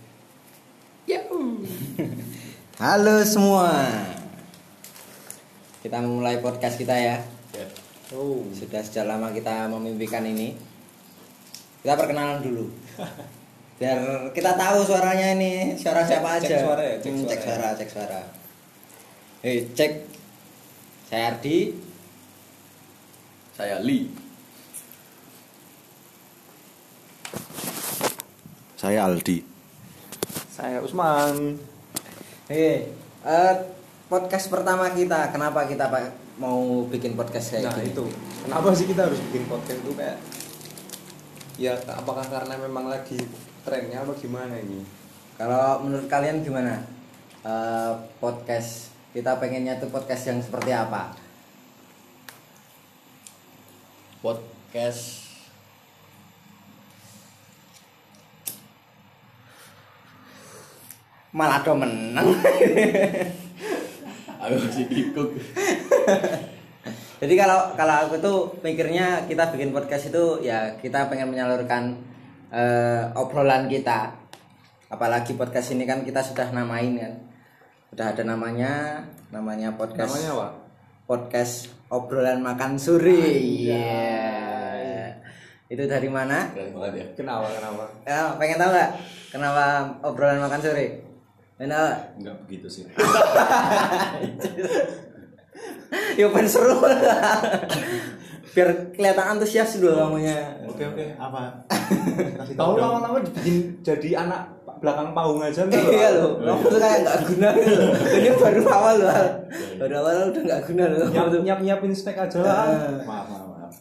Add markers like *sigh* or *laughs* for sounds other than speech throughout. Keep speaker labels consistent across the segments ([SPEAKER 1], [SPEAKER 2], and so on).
[SPEAKER 1] Ah, iya.
[SPEAKER 2] Halo semua. Kita memulai podcast kita ya.
[SPEAKER 1] Oh,
[SPEAKER 2] Sudah sejak lama kita memimpikan ini. Kita perkenalan
[SPEAKER 1] *laughs*
[SPEAKER 2] dulu. Biar kita tahu suaranya ini, suara
[SPEAKER 1] Cek-
[SPEAKER 2] siapa
[SPEAKER 1] cek
[SPEAKER 2] aja.
[SPEAKER 1] suara ya, cek
[SPEAKER 2] Hmm, cek
[SPEAKER 1] suara
[SPEAKER 2] suara, cek suara. Hei, cek. Saya Ardi.
[SPEAKER 3] Saya Li. Saya Aldi.
[SPEAKER 1] saya Usman.
[SPEAKER 2] Hei, eh, podcast pertama kita. Kenapa kita Pak, mau bikin podcast kayak
[SPEAKER 1] Nah
[SPEAKER 2] gini?
[SPEAKER 1] itu, kenapa sih kita harus bikin podcast itu kayak ya apakah karena memang lagi trennya apa gimana ini?
[SPEAKER 2] Kalau menurut kalian gimana Eh, podcast? Kita pengennya tuh podcast yang seperti apa?
[SPEAKER 3] Podcast
[SPEAKER 2] Malah do
[SPEAKER 1] *laughs*
[SPEAKER 2] menang.
[SPEAKER 3] Aduh si kikuk.
[SPEAKER 2] Jadi kalau kalau aku tuh mikirnya kita bikin podcast itu ya kita pengen menyalurkan eh, obrolan kita. Apalagi podcast ini kan kita sudah namain kan. Sudah ada namanya, namanya podcast.
[SPEAKER 1] Namanya apa?
[SPEAKER 2] Podcast obrolan makan suri. Iya. Itu dari mana?
[SPEAKER 3] Keren banget ya.
[SPEAKER 1] Kenapa kenapa?
[SPEAKER 2] Ya, pengen tahu nggak kenapa obrolan makan sore? Pengen tahu nggak?
[SPEAKER 3] Enggak begitu sih.
[SPEAKER 2] Yo pengen seru. Biar kelihatan antusias dulu kamunya.
[SPEAKER 1] Oke oke apa? Kasih tahu lama-lama dibikin jadi anak belakang pahung aja gitu ntar
[SPEAKER 2] Iya loh, kamu tuh kayak nggak guna gitu loh. Ini baru awal loh, Al. baru awal udah nggak guna loh. kamu tuh.
[SPEAKER 1] Nyiap nyiapin spek aja lah.
[SPEAKER 2] Eh.
[SPEAKER 1] Maaf maaf maaf.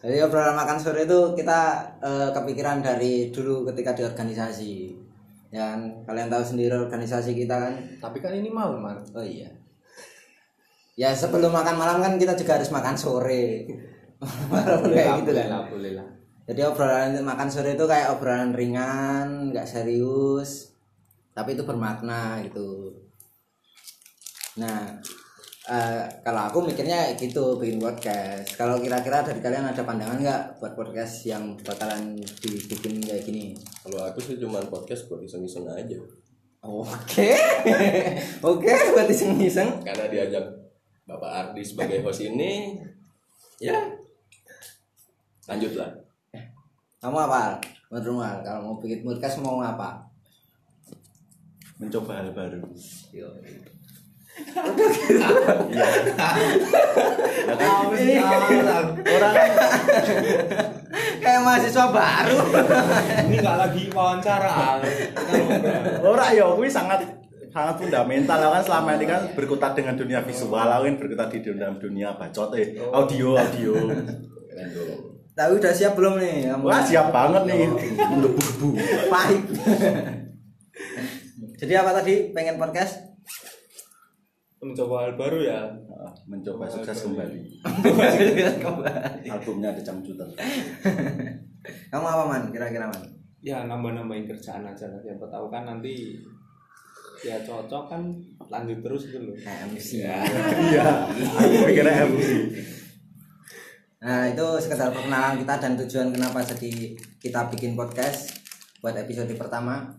[SPEAKER 2] Jadi obrolan makan sore itu kita eh, kepikiran dari dulu ketika di organisasi. Dan kalian tahu sendiri organisasi kita kan.
[SPEAKER 1] Tapi kan ini malam Mar.
[SPEAKER 2] Oh iya. Ya sebelum makan malam kan kita juga harus makan sore. *laughs* Walaupun kayak gitu
[SPEAKER 1] Iya, boleh
[SPEAKER 2] kan.
[SPEAKER 1] lah boleh lah.
[SPEAKER 2] Jadi obrolan makan sore itu kayak obrolan ringan, nggak serius, tapi itu bermakna gitu. Nah, eh, kalau aku mikirnya gitu bikin podcast. Kalau kira-kira dari kalian ada pandangan nggak buat podcast yang bakalan dibikin kayak gini?
[SPEAKER 3] Kalau aku sih cuma podcast buat iseng-iseng aja.
[SPEAKER 2] Oke, *laughs* oke buat iseng-iseng.
[SPEAKER 3] Karena diajak Bapak Ardi sebagai host ini ya lanjutlah.
[SPEAKER 2] Kamu apa? Menurutmu Al? kalau mau bikin podcast mau apa?
[SPEAKER 3] Mencoba hal baru. Iya. kan
[SPEAKER 1] Tahu sih,
[SPEAKER 3] gitu.
[SPEAKER 1] tahu, tahu. Orang
[SPEAKER 2] Kayak mahasiswa baru. *laughs*
[SPEAKER 1] ini nggak lagi wawancara.
[SPEAKER 4] Ora ya kuwi sangat sangat fundamental lah kan selama ini kan berkutat dengan dunia visual lah kan berkutat di dalam dunia bacot eh audio audio
[SPEAKER 3] Oh. Keren dong.
[SPEAKER 2] Tapi udah siap belum nih? kamu?
[SPEAKER 4] wah siap banget nih
[SPEAKER 3] Oh.
[SPEAKER 4] untuk bu
[SPEAKER 2] pahit *laughs* jadi apa tadi pengen *laughs* podcast
[SPEAKER 1] Mencoba hal baru ya.
[SPEAKER 4] mencoba sukses kembali albumnya ada cangcuter
[SPEAKER 2] kamu apa man kira-kira man
[SPEAKER 1] ya nambah-nambahin kerjaan aja lah siapa tahu kan nanti ya cocok kan lanjut terus gitu loh
[SPEAKER 3] Nah,
[SPEAKER 4] iya aku pikirnya MC
[SPEAKER 2] nah itu sekedar perkenalan kita dan tujuan kenapa jadi kita bikin podcast buat episode pertama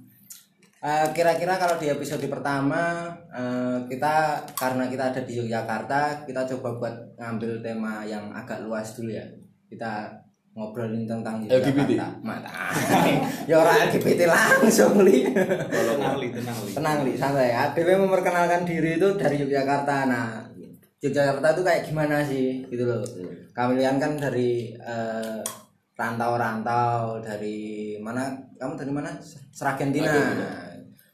[SPEAKER 2] Eh, kira-kira kalau di episode pertama eh, kita karena kita ada di Yogyakarta kita coba buat ngambil tema yang agak luas dulu ya kita ngobrolin tentang
[SPEAKER 3] LGBT.
[SPEAKER 2] Yogyakarta mata *laughs* ya orang LGBT langsung li *laughs*
[SPEAKER 1] kalau tenang li tenang li
[SPEAKER 2] tenang li santai ABW memperkenalkan diri itu dari Yogyakarta nah Yogyakarta itu kayak gimana sih gitu loh kalian kan dari eh, rantau-rantau dari mana kamu dari mana Seragentina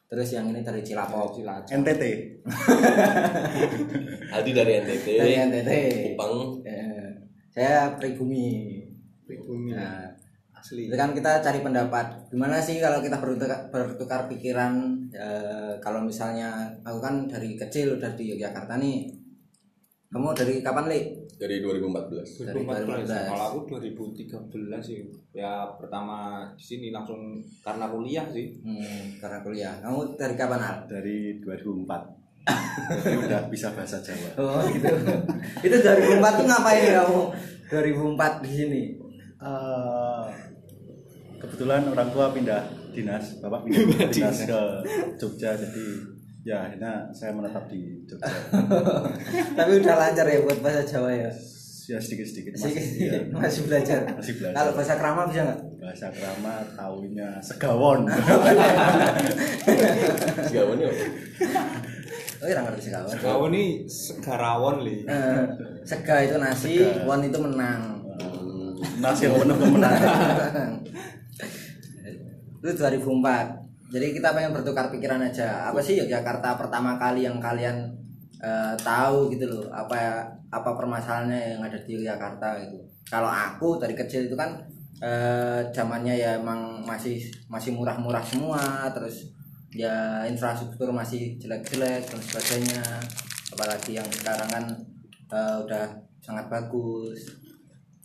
[SPEAKER 2] terus yang ini dari Cilapok
[SPEAKER 1] Cilacap.
[SPEAKER 4] NTT
[SPEAKER 3] Aldi dari NTT.
[SPEAKER 4] Eh,
[SPEAKER 2] dari NTT
[SPEAKER 3] Kupang.
[SPEAKER 2] Eh, saya pribumi
[SPEAKER 1] pribumi
[SPEAKER 2] nah
[SPEAKER 1] asli
[SPEAKER 2] itu kan kita cari pendapat gimana sih kalau kita bertukar, bertukar pikiran eh, kalau misalnya aku kan dari kecil udah di Yogyakarta nih kamu dari kapan li
[SPEAKER 3] dari 2014
[SPEAKER 2] dari
[SPEAKER 1] 2014
[SPEAKER 2] 2014.
[SPEAKER 1] kalau aku 2013 sih ya pertama di sini langsung karena kuliah sih
[SPEAKER 2] hmm, karena kuliah kamu dari kapan al
[SPEAKER 4] dari *laughs* 2004 Jadi udah bisa bahasa Jawa
[SPEAKER 2] oh gitu *laughs* itu 2004 tuh ngapain kamu 2004 di sini
[SPEAKER 4] Eh, kebetulan orang tua pindah dinas bapak pindah dinas, ke Jogja jadi ya akhirnya saya menetap di Jogja
[SPEAKER 2] Tapi udah lancar ya buat bahasa Jawa ya.
[SPEAKER 4] ya sedikit sedikit masih
[SPEAKER 2] Masih,
[SPEAKER 4] ya,
[SPEAKER 2] *laughs* masih belajar.
[SPEAKER 4] Masih belajar.
[SPEAKER 2] Kalau bahasa krama bisa nggak?
[SPEAKER 4] bahasa krama tahunya *laughs* segawon
[SPEAKER 3] Segawon yuk.
[SPEAKER 2] Oh, orang ngerti sekawan.
[SPEAKER 1] Kau ini segarawon li.
[SPEAKER 2] Eh, sega itu nasi,
[SPEAKER 4] Sega.
[SPEAKER 2] won itu menang.
[SPEAKER 4] nasi yang benar pemenang
[SPEAKER 2] itu 2004 jadi kita pengen bertukar pikiran aja apa sih Yogyakarta pertama kali yang kalian eh, tahu gitu loh apa apa permasalahannya yang ada di Yogyakarta gitu kalau aku dari kecil itu kan eh, zamannya ya emang masih masih murah-murah semua terus ya infrastruktur masih jelek-jelek dan sebagainya apalagi yang sekarang kan eh, udah sangat bagus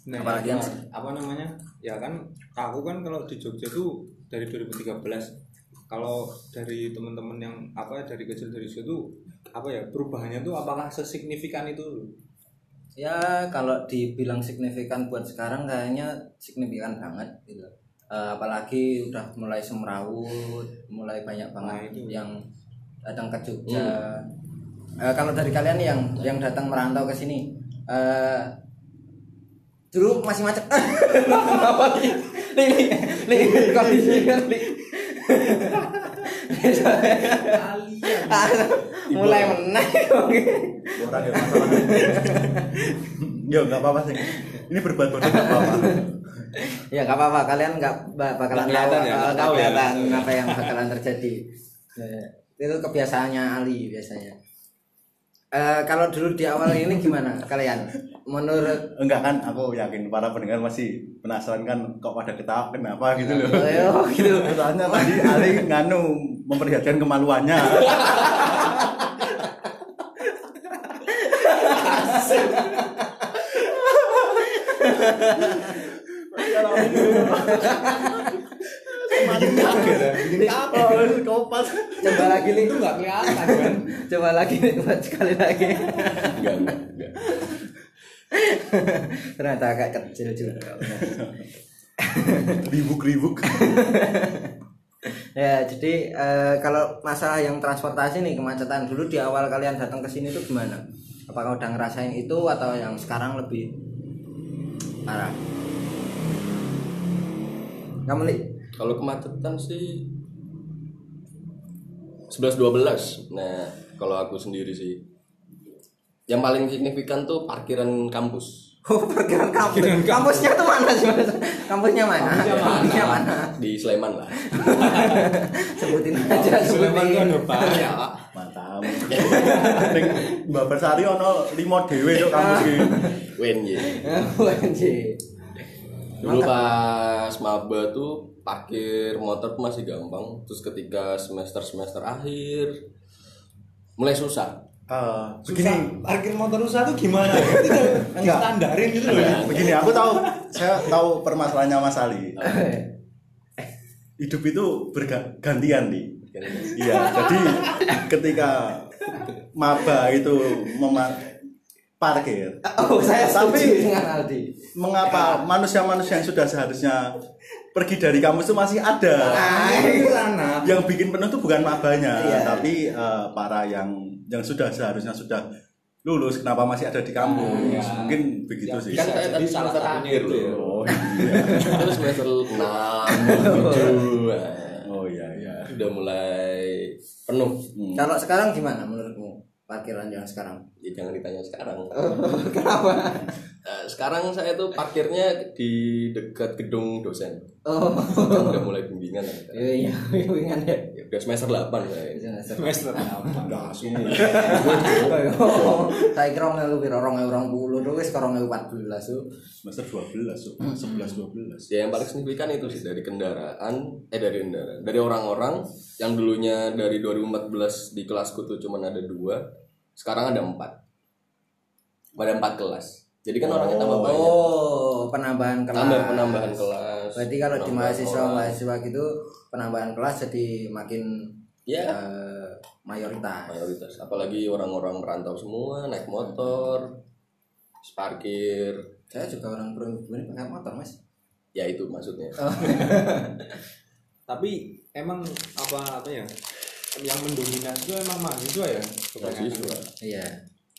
[SPEAKER 1] Nah,
[SPEAKER 2] Apalagi
[SPEAKER 1] ya,
[SPEAKER 2] yang-
[SPEAKER 1] apa namanya? Ya kan aku kan kalau di Jogja tuh dari 2013 kalau dari teman-teman yang apa ya, dari kecil dari situ apa ya perubahannya tuh apakah sesignifikan itu
[SPEAKER 2] ya kalau dibilang signifikan buat sekarang kayaknya signifikan banget gitu Eh, apalagi udah mulai semrawut mulai banyak banget
[SPEAKER 1] Nah, itu.
[SPEAKER 2] yang datang ke Jogja Eh, kalau dari kalian yang yang datang merantau ke sini eh, dulu masih macet apa nih nih nih nih, kondisinya nih mulai *laughs* menaik
[SPEAKER 4] orang ya masalah ya nggak apa-apa sih ini berbuat bodoh nggak apa-apa
[SPEAKER 2] ya nggak apa-apa kalian nggak ba- bakalan
[SPEAKER 1] Nggak kelihatan
[SPEAKER 2] tahu, eh,
[SPEAKER 1] ya, nggak
[SPEAKER 2] nggak
[SPEAKER 1] tahu ya.
[SPEAKER 2] kelihatan apa yang bakalan terjadi Eh, itu kebiasaannya Ali biasanya Eh, kalau dulu di awal ini gimana kalian menurut
[SPEAKER 4] enggak kan aku yakin para pendengar masih penasaran kan kok pada ketawa kenapa gitu loh
[SPEAKER 1] Iya,
[SPEAKER 2] Oh, gitu.
[SPEAKER 4] soalnya tadi Ali nganu memperlihatkan kemaluannya Bikin kopas.
[SPEAKER 2] coba lagi nih
[SPEAKER 1] itu nggak kelihatan kan
[SPEAKER 2] *laughs* coba lagi nih buat sekali lagi
[SPEAKER 3] Enggak, enggak, enggak.
[SPEAKER 2] ternyata agak kecil juga
[SPEAKER 4] Ribuk-ribuk.
[SPEAKER 2] ya jadi eh, kalau masalah yang transportasi nih kemacetan dulu di awal kalian datang ke sini tuh gimana apakah udah ngerasain itu atau yang sekarang lebih parah kamu nih
[SPEAKER 3] Kalau kemacetan sih 11-12 Nah kalau aku sendiri sih Yang paling signifikan tuh parkiran kampus
[SPEAKER 2] *laughs* oh perkiraan kampus kampusnya tuh mana sih Mas? kampusnya mana kampusnya mana
[SPEAKER 3] Iya. Di Sleman lah
[SPEAKER 2] sebutin aja
[SPEAKER 1] Sulaiman tuh
[SPEAKER 2] sebutin
[SPEAKER 1] ada
[SPEAKER 3] Oh, iya. *laughs*
[SPEAKER 1] banyak Pak.
[SPEAKER 4] Mantap. Ning Mbak Bersari ono lima dhewe yo kampus iki.
[SPEAKER 3] WNY
[SPEAKER 2] *laughs* Anjir.
[SPEAKER 3] Dulu pas maba tuh parkir motor tuh masih gampang Terus ketika semester-semester akhir Mulai susah
[SPEAKER 4] Eh,
[SPEAKER 1] Susah, parkir motor usaha tuh
[SPEAKER 4] *laughs*
[SPEAKER 1] gimana ya? Itu
[SPEAKER 4] Enggak.
[SPEAKER 1] standarin gitu loh. ya.
[SPEAKER 4] begini aku tahu saya tahu permasalahannya Mas Ali hidup itu bergantian nih iya jadi ketika maba itu mema- parkir
[SPEAKER 2] oh saya
[SPEAKER 4] Tapi-
[SPEAKER 2] setuju dengan Aldi
[SPEAKER 4] mengapa manusia-manusia yang sudah seharusnya pergi dari kampus itu masih ada
[SPEAKER 2] Ah,
[SPEAKER 1] Itu anak.
[SPEAKER 4] yang bikin penuh itu bukan mabanya
[SPEAKER 2] Iya.
[SPEAKER 4] tapi eh, para yang yang sudah seharusnya sudah lulus kenapa masih ada di kampus
[SPEAKER 1] Ah, iya.
[SPEAKER 4] mungkin begitu sih
[SPEAKER 3] Kan
[SPEAKER 1] jadi
[SPEAKER 3] saya tadi salah
[SPEAKER 1] semester
[SPEAKER 3] terakhir
[SPEAKER 2] gitu
[SPEAKER 1] akhir ya.
[SPEAKER 3] loh
[SPEAKER 4] oh iya
[SPEAKER 3] Terus semester 6, *laughs* 7
[SPEAKER 4] oh iya iya
[SPEAKER 3] Udah mulai penuh
[SPEAKER 4] Hmm.
[SPEAKER 2] kalau sekarang gimana menurutmu parkiran yang sekarang
[SPEAKER 3] Ya jangan ditanya sekarang.
[SPEAKER 2] *laughs* kenapa
[SPEAKER 3] Eh, sekarang saya tuh parkirnya di dekat
[SPEAKER 2] *laughs*
[SPEAKER 3] gedung dosen.
[SPEAKER 2] oh
[SPEAKER 3] Kan udah mulai bimbingan kan sekarang.
[SPEAKER 2] Iya, *laughs* wingan ya.
[SPEAKER 3] Ya, udah semester 8 saya.
[SPEAKER 2] Iya,
[SPEAKER 1] Semester apa?
[SPEAKER 2] Saya kira orang lebih orang orang puluh dulu, sekarang orang empat belas tuh.
[SPEAKER 4] semester 12 so.
[SPEAKER 2] Hmm.
[SPEAKER 4] 11 12
[SPEAKER 3] Ya yang paling signifikan itu sih dari kendaraan, eh dari kendaraan, dari orang-orang yang dulunya dari 2014 di kelasku tuh cuman ada dua, sekarang ada empat. Ada empat kelas. Jadi kan orangnya tambah banyak.
[SPEAKER 2] Oh, penambahan kelas.
[SPEAKER 3] Tambah penambahan kelas.
[SPEAKER 2] Nah, Berarti kalau di
[SPEAKER 3] penambahan
[SPEAKER 2] mahasiswa
[SPEAKER 3] orang.
[SPEAKER 2] mahasiswa gitu penambahan kelas jadi makin
[SPEAKER 3] Ya.
[SPEAKER 2] eh, mayoritas.
[SPEAKER 3] mayoritas apalagi orang-orang merantau semua naik motor terus parkir
[SPEAKER 2] Saya juga orang perempuan pakai motor mas.
[SPEAKER 3] ya itu maksudnya
[SPEAKER 1] Tapi emang apa apa ya yang mendominasi itu emang mahasiswa ya kebanyakan.
[SPEAKER 3] Mahasiswa.
[SPEAKER 2] Iya.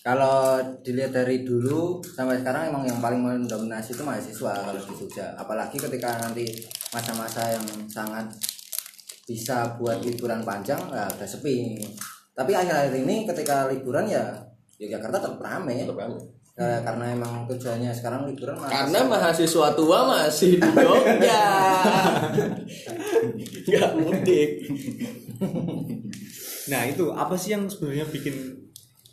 [SPEAKER 2] Kalau dilihat dari dulu sampai sekarang emang yang paling mendominasi itu mahasiswa kalau di Jogja. Apalagi ketika nanti masa-masa yang sangat bisa buat liburan panjang ya udah sepi. Tapi akhir-akhir ini ketika liburan ya Yogyakarta tetap ramai
[SPEAKER 3] Tetap ramai.
[SPEAKER 2] karena emang tujuannya sekarang liburan mahasiswa.
[SPEAKER 3] Karena mahasiswa tua masih di Jogja. Nggak mudik.
[SPEAKER 1] Nah itu apa sih yang sebenarnya bikin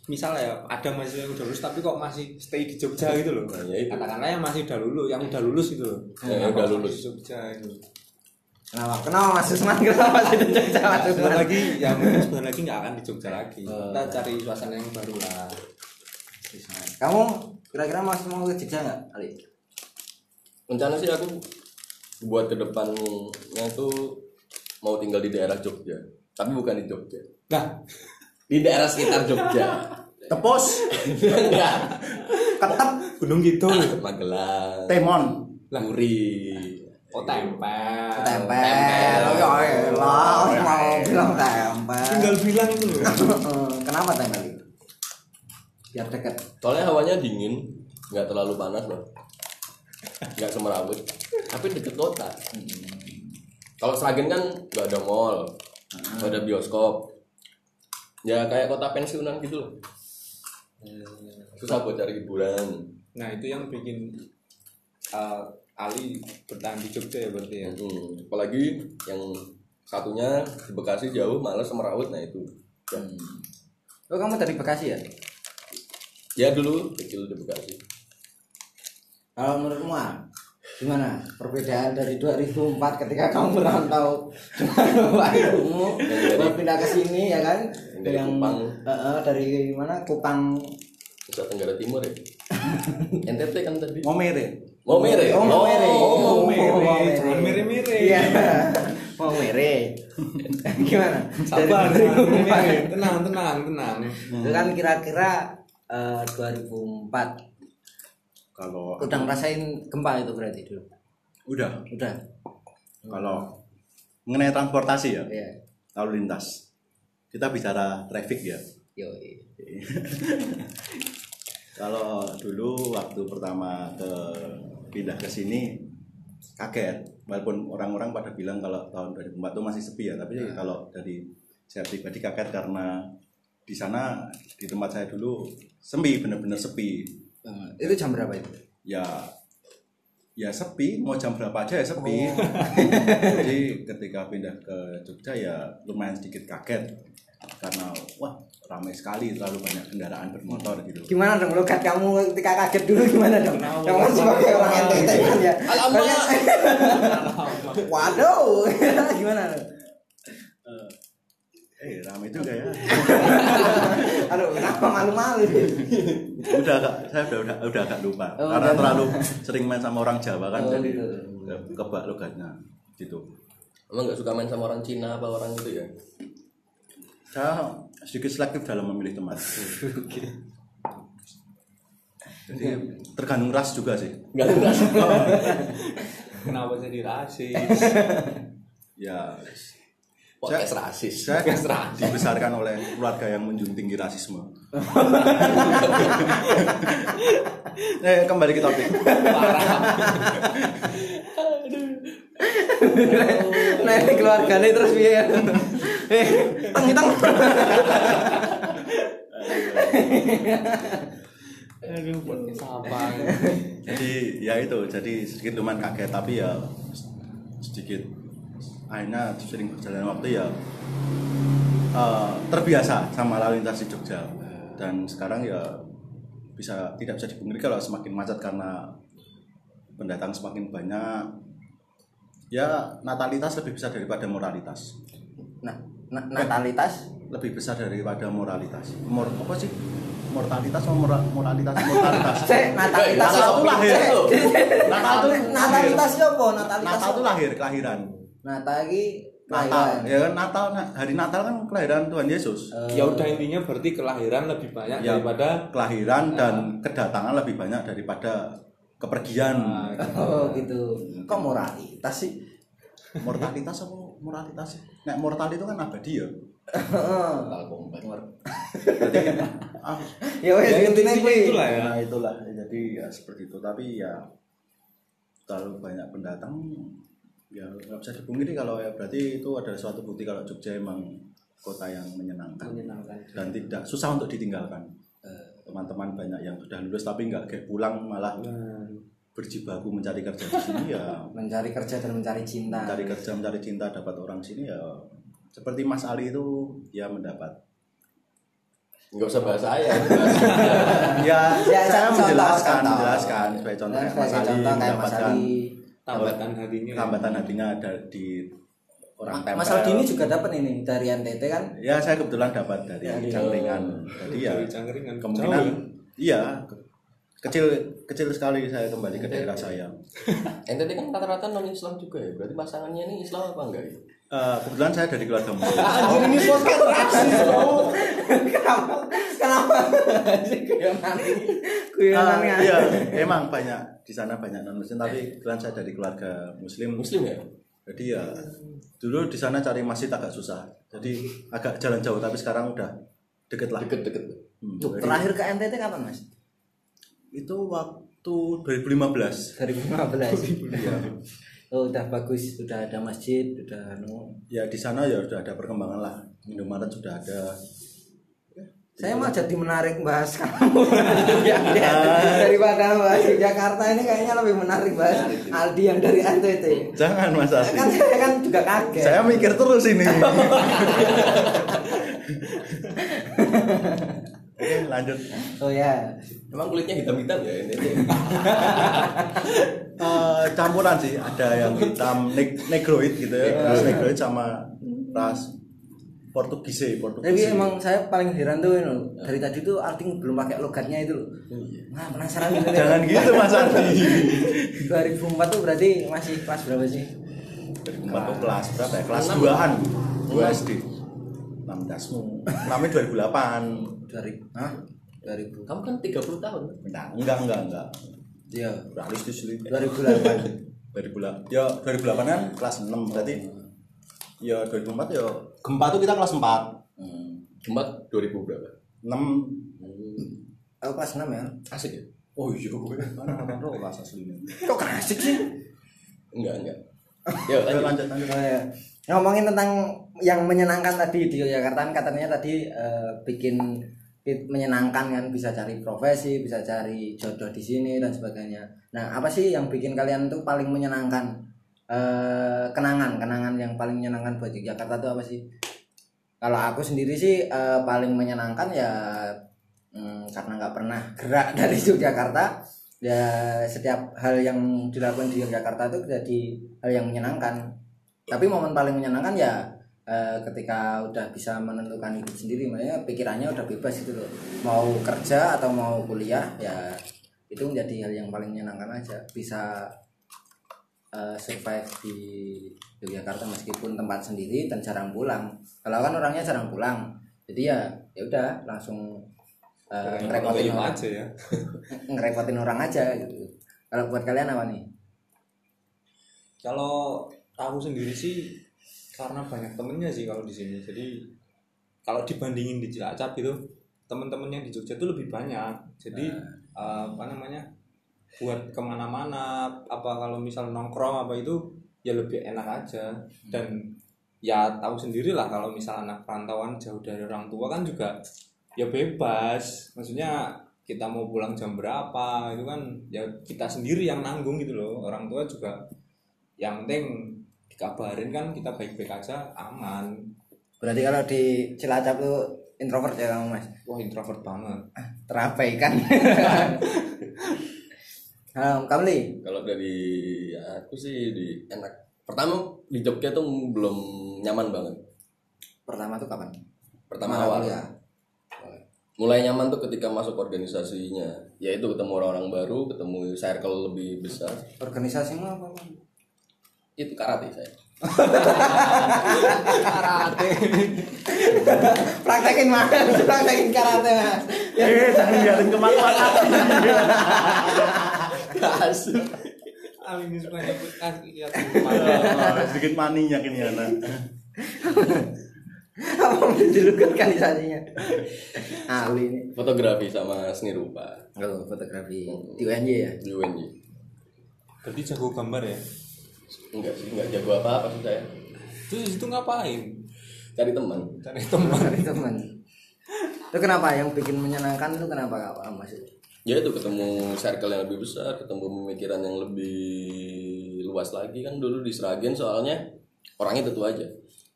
[SPEAKER 1] misalnya ya ada mahasiswa yang udah lulus tapi kok masih stay di Jogja gitu loh.
[SPEAKER 3] Nah, ya itu.
[SPEAKER 1] Katakanlah yang masih udah lulus, yang udah lulus gitu loh.
[SPEAKER 3] Ya, yang
[SPEAKER 1] Kenapa
[SPEAKER 3] udah lulus.
[SPEAKER 1] masih di Jogja gitu.
[SPEAKER 2] Kenapa? Kenapa Mas Usman? Kenapa masih di Jogja Mas
[SPEAKER 1] Sebentar
[SPEAKER 2] Usman?
[SPEAKER 1] lagi ya mungkin sebentar lagi nggak akan di Jogja lagi.
[SPEAKER 2] Eh.
[SPEAKER 1] Kita cari suasana yang baru lah.
[SPEAKER 2] Kamu kira-kira masih mau ke Jogja nggak, Ali?
[SPEAKER 3] Rencana sih aku buat ke depannya tuh mau tinggal di daerah Jogja. Tapi bukan di Jogja.
[SPEAKER 1] Nah,
[SPEAKER 3] Di daerah sekitar Jogja.
[SPEAKER 4] Tepos,
[SPEAKER 3] *laughs* Enggak.
[SPEAKER 4] ketep,
[SPEAKER 1] Gunung gitu.
[SPEAKER 3] Magelang.
[SPEAKER 4] temon.
[SPEAKER 3] Muri.
[SPEAKER 1] Oh
[SPEAKER 3] Iya.
[SPEAKER 1] tempel.
[SPEAKER 2] Tempel.
[SPEAKER 3] Tempel.
[SPEAKER 2] Oh, ya elah, mau bilang tempel.
[SPEAKER 1] Tinggal bilang itu loh.
[SPEAKER 2] Eh, Kenapa tempel itu? Biar deket.
[SPEAKER 3] Soalnya hawanya dingin, nggak terlalu panas loh. Nggak semerawut, tapi deket kota.
[SPEAKER 1] Hmm.
[SPEAKER 3] Kalau Sragen kan nggak ada mall,
[SPEAKER 1] Hmm.
[SPEAKER 3] nggak ada bioskop. Ya kayak kota pensiunan gitu loh.
[SPEAKER 1] Hmm.
[SPEAKER 3] Susah buat cari hiburan.
[SPEAKER 1] Nah itu yang bikin eh, Ali bertahan di Jogja ya berarti ya.
[SPEAKER 3] Hmm, Apalagi yang satunya di Bekasi jauh, males semerawut, nah itu. Ya,
[SPEAKER 2] Oh kamu dari Bekasi ya?
[SPEAKER 3] ya dulu kecil di Bekasi.
[SPEAKER 2] Kalau menurutmu Al, gimana perbedaan dari 2004 ketika kamu merantau dengan bapakmu
[SPEAKER 3] dari-
[SPEAKER 2] berpindah ke sini ya kan?
[SPEAKER 3] Yang dari Kupang.
[SPEAKER 2] eh, eh, dari mana? Kupang
[SPEAKER 3] Nusa Tenggara Timur
[SPEAKER 1] *laughs*
[SPEAKER 3] ya. NTT kan tadi.
[SPEAKER 2] Momere.
[SPEAKER 3] Mau mere.
[SPEAKER 2] Oh, Momere.
[SPEAKER 3] Oh,
[SPEAKER 1] Momere.
[SPEAKER 2] Oh,
[SPEAKER 1] Jangan mire-mire.
[SPEAKER 2] Iya. Momere. Gimana? Dari
[SPEAKER 1] Sabar,
[SPEAKER 2] 2004.
[SPEAKER 1] *laughs* tenang, tenang, tenang.
[SPEAKER 2] Itu kan kira-kira eh, 2004
[SPEAKER 4] Kalau
[SPEAKER 2] udah ngerasain gempa itu berarti dulu.
[SPEAKER 4] udah,
[SPEAKER 2] Udah.
[SPEAKER 4] kalau mengenai transportasi ya,
[SPEAKER 2] Iya.
[SPEAKER 4] lalu lintas. Kita bicara traffic ya.
[SPEAKER 2] Yo.
[SPEAKER 4] Kalau dulu waktu pertama ke pindah ke sini kaget, walaupun orang-orang pada bilang kalau tahun 2004 itu masih sepi ya, tapi kalau dari saya pribadi kaget karena di sana di tempat saya dulu sepi, benar-benar sepi.
[SPEAKER 2] Eh, itu jam berapa itu?
[SPEAKER 4] Ya ya sepi, mau jam berapa aja ya sepi. *laughs* Jadi ketika pindah ke Jogja ya lumayan sedikit kaget karena wah ramai sekali terlalu banyak kendaraan bermotor gitu.
[SPEAKER 2] Gimana dong logat kamu ketika kaget dulu gimana dong? Kamu sebagai orang NTT kan ya. Banyak- *laughs* Waduh. gimana? dong?
[SPEAKER 4] Eh ramai juga ya.
[SPEAKER 2] Aduh, kenapa malu-malu?
[SPEAKER 4] udah agak saya udah udah udah agak lupa
[SPEAKER 2] Oh,
[SPEAKER 4] karena
[SPEAKER 2] udah.
[SPEAKER 4] terlalu sering main sama orang Jawa
[SPEAKER 2] Oh,
[SPEAKER 4] kan jadi
[SPEAKER 2] gitu.
[SPEAKER 4] eh, kebak logatnya gitu
[SPEAKER 3] Emang nggak suka main sama orang Cina apa orang gitu ya?
[SPEAKER 4] saya sedikit selektif dalam memilih *laughs* teman jadi tergantung ras juga sih
[SPEAKER 3] Nggak suka.
[SPEAKER 1] Kenapa jadi rasis?
[SPEAKER 4] ya
[SPEAKER 3] Podcast rasis.
[SPEAKER 4] saya dibesarkan oleh keluarga yang menjunjung tinggi rasisme eh kembali ke topik
[SPEAKER 2] Nah, ini keluarganya terus piye? Eh, teng-teng.
[SPEAKER 1] Aduh, buat apa?
[SPEAKER 4] jadi ya itu jadi sedikit lumayan kaget tapi ya sedikit akhirnya sering berjalan waktu ya eh, terbiasa sama lalu lintas di Jogja dan sekarang ya bisa tidak bisa dipungkiri kalau semakin macet karena pendatang semakin banyak ya natalitas lebih besar daripada moralitas
[SPEAKER 2] Nah, na- natalitas
[SPEAKER 4] lebih besar daripada moralitas Mor apa sih mortalitas atau mora- moralitas
[SPEAKER 1] *laughs*
[SPEAKER 4] mortalitas
[SPEAKER 2] Cek, natalitas
[SPEAKER 4] Natal tuh lahir
[SPEAKER 2] Cek.
[SPEAKER 4] tuh. Natal
[SPEAKER 2] Natal
[SPEAKER 4] tuh
[SPEAKER 2] natalitas yo apa? Natalitas.
[SPEAKER 4] Natal tuh lahir kelahiran.
[SPEAKER 2] Natal iki
[SPEAKER 4] Natal
[SPEAKER 2] kelahiran.
[SPEAKER 4] ya kan Natal na- hari Natal kan kelahiran Tuhan Yesus.
[SPEAKER 1] Ya udah intinya berarti kelahiran lebih banyak
[SPEAKER 4] Ya.
[SPEAKER 1] daripada
[SPEAKER 4] Kelahiran dan
[SPEAKER 1] Eh.
[SPEAKER 4] kedatangan lebih banyak daripada kepergian.
[SPEAKER 1] Ah.
[SPEAKER 2] Oh, gitu. Kok moralitas sih?
[SPEAKER 4] Mortalitas apa moralitas nek mortal itu kan abadi ya
[SPEAKER 3] Mortal Kombat.
[SPEAKER 4] ah,
[SPEAKER 2] ya wes
[SPEAKER 1] Ya,
[SPEAKER 2] intinya
[SPEAKER 1] intinya
[SPEAKER 2] kuwi.
[SPEAKER 1] itulah ya.
[SPEAKER 4] nah itulah jadi ya seperti itu tapi ya terlalu banyak pendatang ya nggak bisa dipungkiri kalau ya berarti itu adalah suatu bukti kalau Jogja emang kota yang menyenangkan,
[SPEAKER 2] Menyenangkan.
[SPEAKER 4] dan tidak susah untuk ditinggalkan Eh, teman-teman banyak yang sudah lulus tapi nggak kayak pulang malah berjibaku mencari kerja di sini
[SPEAKER 2] Nah.
[SPEAKER 4] ya
[SPEAKER 2] mencari kerja dan mencari cinta
[SPEAKER 4] mencari kerja mencari cinta dapat orang sini ya seperti Mas Ali itu dia mendapat
[SPEAKER 3] Enggak usah bahas saya.
[SPEAKER 4] ya,
[SPEAKER 2] Ya,
[SPEAKER 4] saya
[SPEAKER 2] contoh,
[SPEAKER 4] menjelaskan
[SPEAKER 2] contoh.
[SPEAKER 4] menjelaskan sebagai contoh
[SPEAKER 2] Dan
[SPEAKER 4] kayak Mas
[SPEAKER 2] Nah, sebagai
[SPEAKER 4] Ali
[SPEAKER 2] contoh kayak Mas
[SPEAKER 4] mendapatkan
[SPEAKER 2] Ali
[SPEAKER 1] Tambatan hatinya.
[SPEAKER 4] hambatan hatinya ada di orang tempel
[SPEAKER 2] Mas Aldi ini juga dapat ini dari NTT kan
[SPEAKER 4] ya saya kebetulan dapat dari
[SPEAKER 2] Dari-
[SPEAKER 4] cangkringan jadi ya
[SPEAKER 1] Dari Cangkringan.
[SPEAKER 4] kemungkinan
[SPEAKER 1] Jauh ya?
[SPEAKER 4] iya ke- kecil kecil sekali saya kembali ke daerah saya
[SPEAKER 3] NTT kan rata-rata non Islam juga ya. Berarti pasangannya ini Islam apa enggak ya?
[SPEAKER 4] Eh, kebetulan saya dari keluarga Muslim
[SPEAKER 2] Anjir ini podcast rasis loh kenapa kenapa Anjir, guyonan ini guyonan
[SPEAKER 4] Ah,
[SPEAKER 2] ya.
[SPEAKER 4] iya emang banyak di sana banyak non muslim tapi kebetulan saya dari keluarga muslim
[SPEAKER 3] Muslim ya?
[SPEAKER 4] jadi ya dulu di sana cari masjid agak susah jadi agak jalan jauh tapi sekarang udah deket lah
[SPEAKER 3] Deket-deket.
[SPEAKER 4] Hmm, jadi
[SPEAKER 2] terakhir ke NTT kapan mas
[SPEAKER 4] itu waktu 2015
[SPEAKER 2] 2015
[SPEAKER 4] ya,
[SPEAKER 2] *laughs* oh udah bagus udah ada masjid udah anu
[SPEAKER 4] ya di sana ya udah ada perkembangan lah Indomaret sudah ada
[SPEAKER 2] saya
[SPEAKER 4] Iya.
[SPEAKER 2] mah jadi menarik bahas kamu *laughs* Ya, ya. daripada bahas Jakarta ini kayaknya lebih menarik bahas Aldi yang dari NTT
[SPEAKER 4] jangan mas Asti
[SPEAKER 2] kan saya kan juga kaget
[SPEAKER 4] saya mikir terus ini Oke, lanjut
[SPEAKER 2] oh ya
[SPEAKER 3] Emang kulitnya hitam-hitam ya NTT?
[SPEAKER 4] Eh, campuran sih ada yang hitam neg- negroid gitu ya ras negroid sama ras Portugise
[SPEAKER 2] Tapi
[SPEAKER 4] Portugise
[SPEAKER 2] emang saya paling heran tuh ini loh. dari tadi tuh Alting belum pakai logatnya itu loh. Nah, *laughs* penasaran gitu. nih.
[SPEAKER 4] *laughs* jangan gitu mas Andi
[SPEAKER 2] 2004 tuh berarti masih kelas berapa sih?
[SPEAKER 4] dari empat ke kelas berapa ya kelas 2an 2 SD 16 mu 6 2008
[SPEAKER 2] 2000. Hah? 2000.
[SPEAKER 3] Kamu kan 30 tahun.
[SPEAKER 4] nah, enggak enggak enggak
[SPEAKER 2] Iya.
[SPEAKER 4] realistis sih
[SPEAKER 2] 2008.
[SPEAKER 4] 2008 ya 2008 kan kelas 6 berarti ya 2004 ya Hmm. gempa tuh kita kelas 4
[SPEAKER 3] Gembat 2000 berapa?
[SPEAKER 4] 6
[SPEAKER 2] Aku kelas 6 ya.
[SPEAKER 3] Asik ya?
[SPEAKER 4] oh iya mana mana tuh kelas aslinya
[SPEAKER 2] Kok klasik sih?
[SPEAKER 3] Enggak, enggak. Ya,
[SPEAKER 4] Ayo, lanjut
[SPEAKER 3] lanjut.
[SPEAKER 4] lanjut
[SPEAKER 2] Oh, ya. Ngomongin tentang yang menyenangkan tadi di Yogyakarta kan katanya tadi eh, bikin bit- menyenangkan kan bisa cari profesi, bisa cari jodoh di sini dan sebagainya. Nah, apa sih yang bikin kalian tuh paling menyenangkan? Eh, kenangan, kenangan yang paling menyenangkan buat Yogyakarta tuh apa sih? Kalau aku sendiri sih eh, paling menyenangkan ya mm, karena nggak pernah gerak *laughs* dari Yogyakarta ya setiap hal yang dilakukan di Yogyakarta itu jadi hal yang menyenangkan tapi momen paling menyenangkan ya eh, ketika udah bisa menentukan hidup sendiri makanya pikirannya udah bebas gitu loh mau kerja atau mau kuliah ya itu menjadi hal yang paling menyenangkan aja bisa eh, survive di Yogyakarta meskipun tempat sendiri dan jarang pulang kalau kan orangnya jarang pulang jadi ya ya udah langsung eh, ngerepotin
[SPEAKER 1] Lima
[SPEAKER 2] orang
[SPEAKER 1] aja ya.
[SPEAKER 2] ngerepotin orang aja gitu kalau buat kalian apa nih
[SPEAKER 1] kalau aku sendiri sih karena banyak temennya sih kalau di sini jadi kalau dibandingin di Cilacap gitu temen-temen yang di Jogja itu lebih banyak jadi eh, apa namanya buat kemana-mana apa kalau misal nongkrong apa itu ya lebih enak aja dan ya tahu sendiri lah kalau misal anak perantauan jauh dari orang tua kan juga ya bebas maksudnya kita mau pulang jam berapa itu kan ya kita sendiri yang nanggung gitu loh orang tua juga yang penting dikabarin kan kita baik-baik aja aman
[SPEAKER 2] berarti kalau di Cilacap tuh introvert ya kamu mas
[SPEAKER 1] wah introvert banget
[SPEAKER 3] *laughs*
[SPEAKER 2] terabaikan Halo, kamu Li?
[SPEAKER 3] Kalau dari aku sih di enak. Pertama di Jogja tuh belum nyaman banget.
[SPEAKER 2] pertama tuh kapan?
[SPEAKER 3] Pertama
[SPEAKER 2] Malah
[SPEAKER 3] awal.
[SPEAKER 2] kuliah.
[SPEAKER 3] mulai nyaman tuh ketika masuk organisasinya yaitu ketemu orang-orang baru ketemu circle lebih besar
[SPEAKER 2] Organisasimu apa? Bang?
[SPEAKER 3] itu karate saya
[SPEAKER 2] praktekin mas, praktekin karate mas.
[SPEAKER 4] *laughs* eh jangan biarin kemana-mana
[SPEAKER 3] Asu.
[SPEAKER 1] Amin Yusman nyebut ah, iya,
[SPEAKER 4] Eh, sedikit maninya kini ya nah.
[SPEAKER 2] apa menjulurkan kanalisasinya ahli ini
[SPEAKER 3] fotografi sama seni rupa
[SPEAKER 2] oh fotografi di UNY ya
[SPEAKER 3] di UNJ
[SPEAKER 1] Berarti jago gambar ya.
[SPEAKER 3] enggak sih enggak jago apa apa sih saya
[SPEAKER 1] Terus itu ngapain?
[SPEAKER 3] cari teman
[SPEAKER 1] Cari teman.
[SPEAKER 2] Cari teman itu kenapa yang bikin menyenangkan itu kenapa kak Paham masih
[SPEAKER 3] ya itu ketemu circle yang lebih besar ketemu pemikiran yang lebih luas lagi kan dulu di Sragen soalnya orangnya tentu aja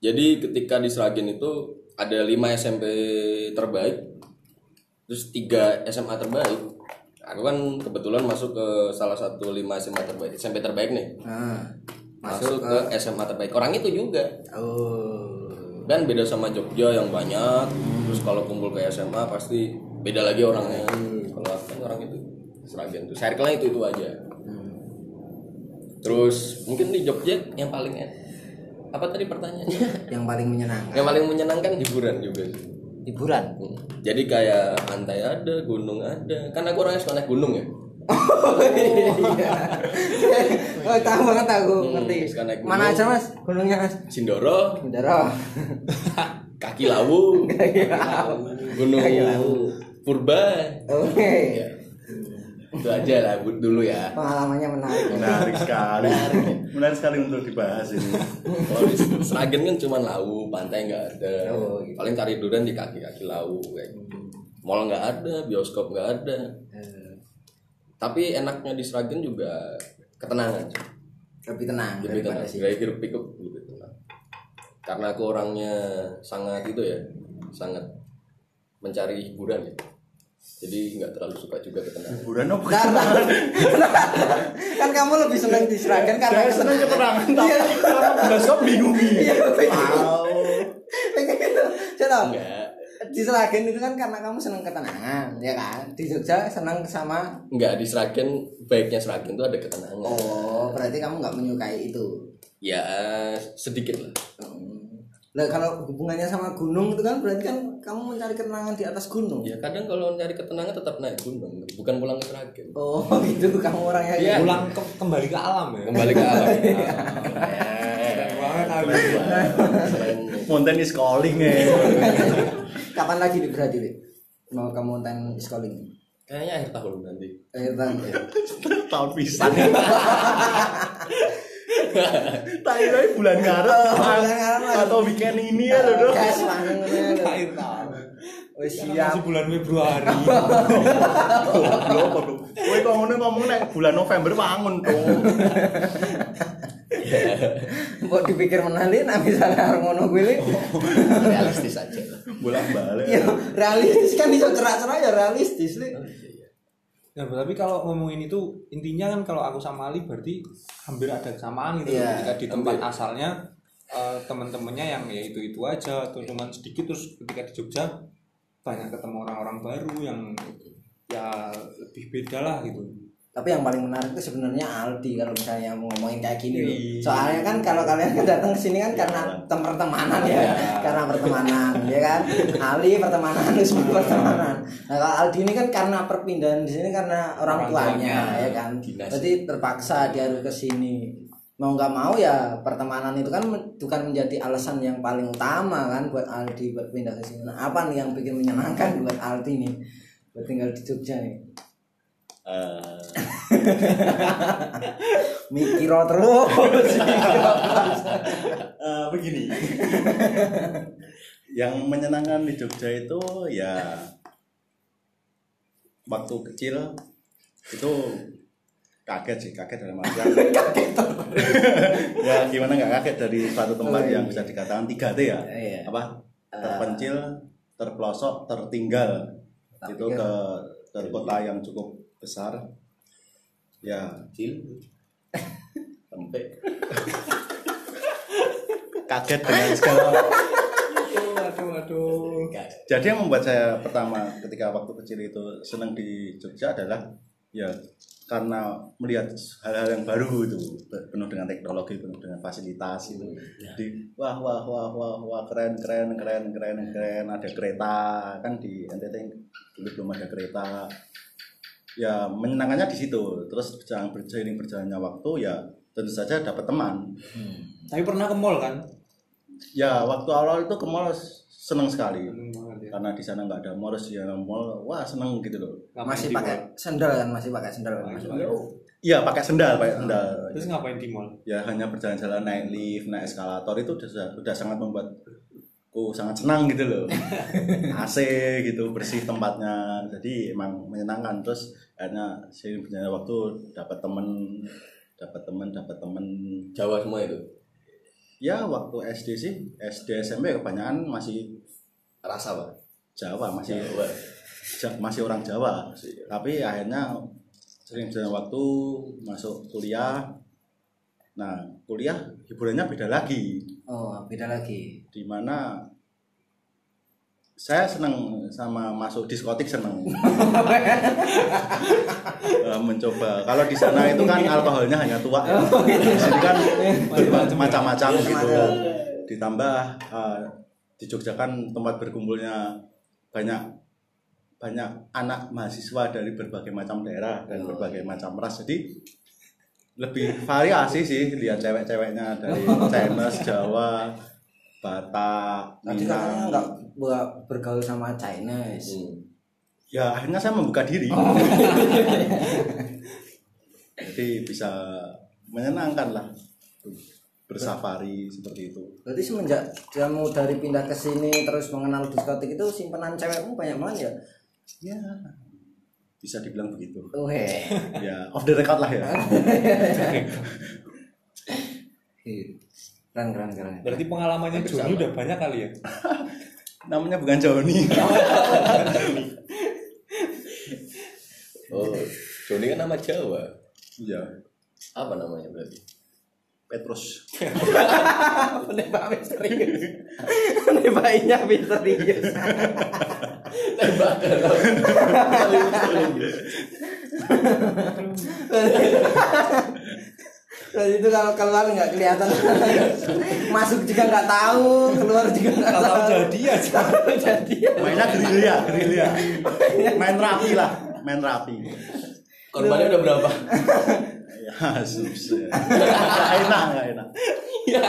[SPEAKER 3] jadi ketika di Sragen itu ada 5 SMP terbaik terus 3 SMA terbaik aku kan kebetulan masuk ke salah satu 5 SMA terbaik SMP terbaik nih
[SPEAKER 2] ah
[SPEAKER 3] masuk, ke SMA terbaik orang itu juga
[SPEAKER 2] oh
[SPEAKER 3] dan beda sama Jogja yang banyak terus kalau kumpul ke SMA pasti beda lagi orangnya kalau aku kan orang itu seragam tuh circle-nya itu itu aja terus mungkin di Jogja yang paling en- apa tadi
[SPEAKER 2] *laughs*
[SPEAKER 3] pertanyaannya
[SPEAKER 2] yang paling menyenangkan
[SPEAKER 3] yang paling menyenangkan hiburan juga sih.
[SPEAKER 2] *laughs* hiburan
[SPEAKER 3] Hmm. jadi kayak pantai ada gunung ada kan aku orangnya suka naik gunung ya
[SPEAKER 2] iya. oh tahu banget aku ngerti
[SPEAKER 3] suka naik
[SPEAKER 2] mana
[SPEAKER 3] gunung.
[SPEAKER 2] aja mas gunungnya mas
[SPEAKER 3] Sindoro
[SPEAKER 2] *laughs* Bendaro
[SPEAKER 3] kaki lawu gunung purba
[SPEAKER 2] oke
[SPEAKER 3] itu aja lah bu- dulu ya
[SPEAKER 2] pengalamannya menarik
[SPEAKER 4] Menarik sekali. Menarik sekali untuk dibahas ini.
[SPEAKER 3] Kalau di Sragen kan cuma lau, pantai nggak ada.
[SPEAKER 2] Oh, gitu. Hmm.
[SPEAKER 3] Paling cari durian di kaki-kaki lau. Kayak. gitu. Mall nggak ada, bioskop nggak ada.
[SPEAKER 2] Eh,
[SPEAKER 3] Tapi enaknya di Sragen juga ketenangan.
[SPEAKER 2] lebih tenang
[SPEAKER 3] Lebih
[SPEAKER 2] Nah, daripada
[SPEAKER 3] tenang.
[SPEAKER 2] sih
[SPEAKER 3] Gaya hidup hidup lebih gitu, tenang. Karena aku orangnya sangat itu ya, sangat mencari hiburan ya. Jadi nggak terlalu suka juga ketenangan.
[SPEAKER 4] Hiburan apa?
[SPEAKER 2] karena kan kamu lebih senang di Sragen karena
[SPEAKER 4] Saya senang keterangan tapi karena bioskop bingung.
[SPEAKER 2] Iya, bingung.
[SPEAKER 4] Wow.
[SPEAKER 2] Saya tahu.
[SPEAKER 3] Enggak,
[SPEAKER 2] Di Sragen itu kan karena kamu senang ketenangan, ya kan? Di Jogja senang sama
[SPEAKER 3] enggak di Sragen baiknya Sragen itu ada ketenangan.
[SPEAKER 2] Oh, berarti kamu nggak menyukai itu.
[SPEAKER 3] Ya sedikit lah.
[SPEAKER 2] Hmm. Lah kalau hubungannya sama gunung itu kan berarti kan kamu mencari ketenangan di atas gunung.
[SPEAKER 3] Ya kadang kalau nyari ketenangan tetap naik gunung, bukan pulang ke Sragen.
[SPEAKER 2] Oh, *laughs* gitu kamu orangnya
[SPEAKER 3] Iya.
[SPEAKER 1] Pulang ke- kembali ke alam ya.
[SPEAKER 3] Kembali ke *laughs* alam.
[SPEAKER 1] Keren banget Abi.
[SPEAKER 3] Selain-
[SPEAKER 4] Mountain is calling eh. ya.
[SPEAKER 2] *laughs* Kapan lagi di berarti? Dik? Mau kamu tentang schooling?
[SPEAKER 3] Kayaknya akhir tahun nanti.
[SPEAKER 2] Eh, Bang.
[SPEAKER 4] Tahun pisan. Tayangnya bulan Maret
[SPEAKER 2] Oh, bulan Maret. Nah,
[SPEAKER 4] atau weekend ini ya loh.
[SPEAKER 2] Gas langsung ngono lho.
[SPEAKER 1] Akhir tahun.
[SPEAKER 2] Wis
[SPEAKER 1] Kan
[SPEAKER 2] siap.
[SPEAKER 1] Masih bulan Februari.
[SPEAKER 2] kan.
[SPEAKER 4] Goblok kok. Kowe kok ngono ngomong nek bulan November bangun dong.
[SPEAKER 2] Mbok dipikir menali nah misalnya arep ngono kuwi li.
[SPEAKER 3] Realistis aja.
[SPEAKER 4] Bulan balik.
[SPEAKER 2] Ya realistis kan iso cerak-cerak ya realistis li.
[SPEAKER 1] Nah, tapi kalau ngomongin itu intinya kan kalau aku sama Ali berarti hampir ada kesamaan gitu
[SPEAKER 2] Iya,
[SPEAKER 1] ketika di tempat asalnya eh, teman-temannya yang ya itu itu aja atau cuman sedikit terus ketika di Jogja banyak ketemu orang-orang baru yang ya lebih beda lah gitu.
[SPEAKER 2] Tapi yang paling menarik itu sebenarnya Aldi kalau misalnya mau ngomongin kayak gini loh.
[SPEAKER 1] Iya.
[SPEAKER 2] Soalnya kan kalau kalian *laughs* kan datang ke sini kan karena tem- pertemanan ya,
[SPEAKER 1] Iya.
[SPEAKER 2] karena pertemanan ya kan. Ali pertemanan, Usman
[SPEAKER 1] Iya.
[SPEAKER 2] pertemanan. Nah, kalau Aldi ini kan karena perpindahan di sini karena orang,
[SPEAKER 1] Orang
[SPEAKER 2] tuanya,
[SPEAKER 1] tuanya,
[SPEAKER 2] ya kan.
[SPEAKER 3] dinas.
[SPEAKER 2] Berarti terpaksa dia harus ke sini. Mau nggak mau ya pertemanan itu kan men- bukan menjadi alasan yang paling utama kan buat Aldi buat pindah ke sini. Nah, apa nih yang bikin menyenangkan buat Aldi nih? Buat tinggal di Jogja nih. *laughs*
[SPEAKER 3] Eh,
[SPEAKER 2] Mikiro terus.
[SPEAKER 4] Eh, begini yang menyenangkan di Jogja itu ya waktu kecil itu kaget sih kaget dalam
[SPEAKER 2] *laughs*
[SPEAKER 4] artian ya gimana nggak kaget dari suatu
[SPEAKER 2] Oh,
[SPEAKER 4] tempat yang bisa dikatakan 3 T ya
[SPEAKER 2] Iya.
[SPEAKER 4] apa terpencil terpelosok tertinggal itu ke ke kota yang cukup besar ya
[SPEAKER 3] Kecil. Tempe.
[SPEAKER 4] kaget dengan segala
[SPEAKER 1] Aduh, aduh, aduh.
[SPEAKER 4] Jadi yang membuat saya pertama ketika waktu kecil itu senang di Jogja adalah ya karena melihat hal-hal yang baru itu penuh dengan teknologi, penuh dengan fasilitas itu. Jadi wah wah wah wah wah keren keren keren keren keren ada kereta kan di NTT dulu belum ada kereta ya menyenangkannya di situ terus berjalan berjalan berjalannya waktu ya tentu saja dapat teman
[SPEAKER 1] Tapi pernah ke mall kan?
[SPEAKER 4] ya waktu awal itu ke mall seneng sekali
[SPEAKER 1] Seneng banget ya.
[SPEAKER 4] karena di sana nggak ada mall terus di dalam mall wah seneng gitu loh
[SPEAKER 1] ya. Ngapain
[SPEAKER 2] masih
[SPEAKER 1] di
[SPEAKER 2] pakai
[SPEAKER 1] mall?
[SPEAKER 2] sendal kan Oh, masih pakai sendal
[SPEAKER 1] Pakai
[SPEAKER 2] Masih-
[SPEAKER 1] sendal.
[SPEAKER 4] iya pakai sendal pakai sendal
[SPEAKER 1] Terus ngapain di mall?
[SPEAKER 4] ya hanya berjalan-jalan naik lift naik eskalator itu sudah sudah sangat membuatku sangat senang gitu loh AC gitu bersih tempatnya jadi emang menyenangkan terus akhirnya sering berjalannya waktu dapat temen dapat temen dapat temen
[SPEAKER 3] Jawa semua itu.
[SPEAKER 4] ya waktu SD sih SD SMP kebanyakan masih
[SPEAKER 3] Rasa, Pak.
[SPEAKER 4] Jawa masih
[SPEAKER 3] Jawa.
[SPEAKER 4] Ja- masih orang Jawa tapi akhirnya sering berjalan waktu masuk kuliah nah kuliah hiburannya beda lagi
[SPEAKER 2] oh beda lagi
[SPEAKER 4] di mana saya senang sama masuk diskotik senang Eh, mencoba kalau di sana itu kan alkoholnya hanya tua ya. di
[SPEAKER 2] *laughs*
[SPEAKER 4] sini kan macam-macam gitu ditambah eh, di Jogja kan tempat berkumpulnya banyak banyak anak mahasiswa dari berbagai macam daerah dan berbagai macam ras jadi lebih variasi sih lihat cewek-ceweknya dari Chinese, Jawa, Batak,
[SPEAKER 2] tadi
[SPEAKER 1] Iya.
[SPEAKER 2] katanya
[SPEAKER 4] Minang.
[SPEAKER 2] Nah, nggak ber- bergaul sama Chinese
[SPEAKER 3] Hmm.
[SPEAKER 4] Ya akhirnya saya membuka diri. *laughs* Jadi bisa menyenangkan lah bersafari seperti itu.
[SPEAKER 1] Hmm.
[SPEAKER 2] berarti semenjak kamu dari pindah ke sini terus mengenal diskotik itu simpenan cewekmu banyak banget ya
[SPEAKER 4] Ya bisa dibilang begitu.
[SPEAKER 2] *laughs*
[SPEAKER 1] Oh,
[SPEAKER 2] Weh.
[SPEAKER 4] *laughs* Ya off the record lah ya.
[SPEAKER 2] Iya. keren keren keren
[SPEAKER 1] Berarti pengalamannya Joni udah banyak kali ya?
[SPEAKER 4] Namanya bukan Joni.
[SPEAKER 3] Oh, Joni kan nama Jawa.
[SPEAKER 4] *laughs* Iya.
[SPEAKER 3] Apa namanya berarti?
[SPEAKER 4] Petrus.
[SPEAKER 2] penembak misterius penembaknya misterius
[SPEAKER 3] Tembakan.
[SPEAKER 2] dan Nah, itu kalau keluar nggak kelihatan masuk juga nggak tahu keluar juga nggak
[SPEAKER 1] Kalau
[SPEAKER 2] tahu
[SPEAKER 1] tahu jadi aja.
[SPEAKER 2] jadi
[SPEAKER 4] Mainnya gerilya, gerilya. ya. Main rapi lah, main rapi.
[SPEAKER 3] Korbannya udah berapa?
[SPEAKER 4] Ya susah. Nggak enak, nggak enak.
[SPEAKER 3] Ya.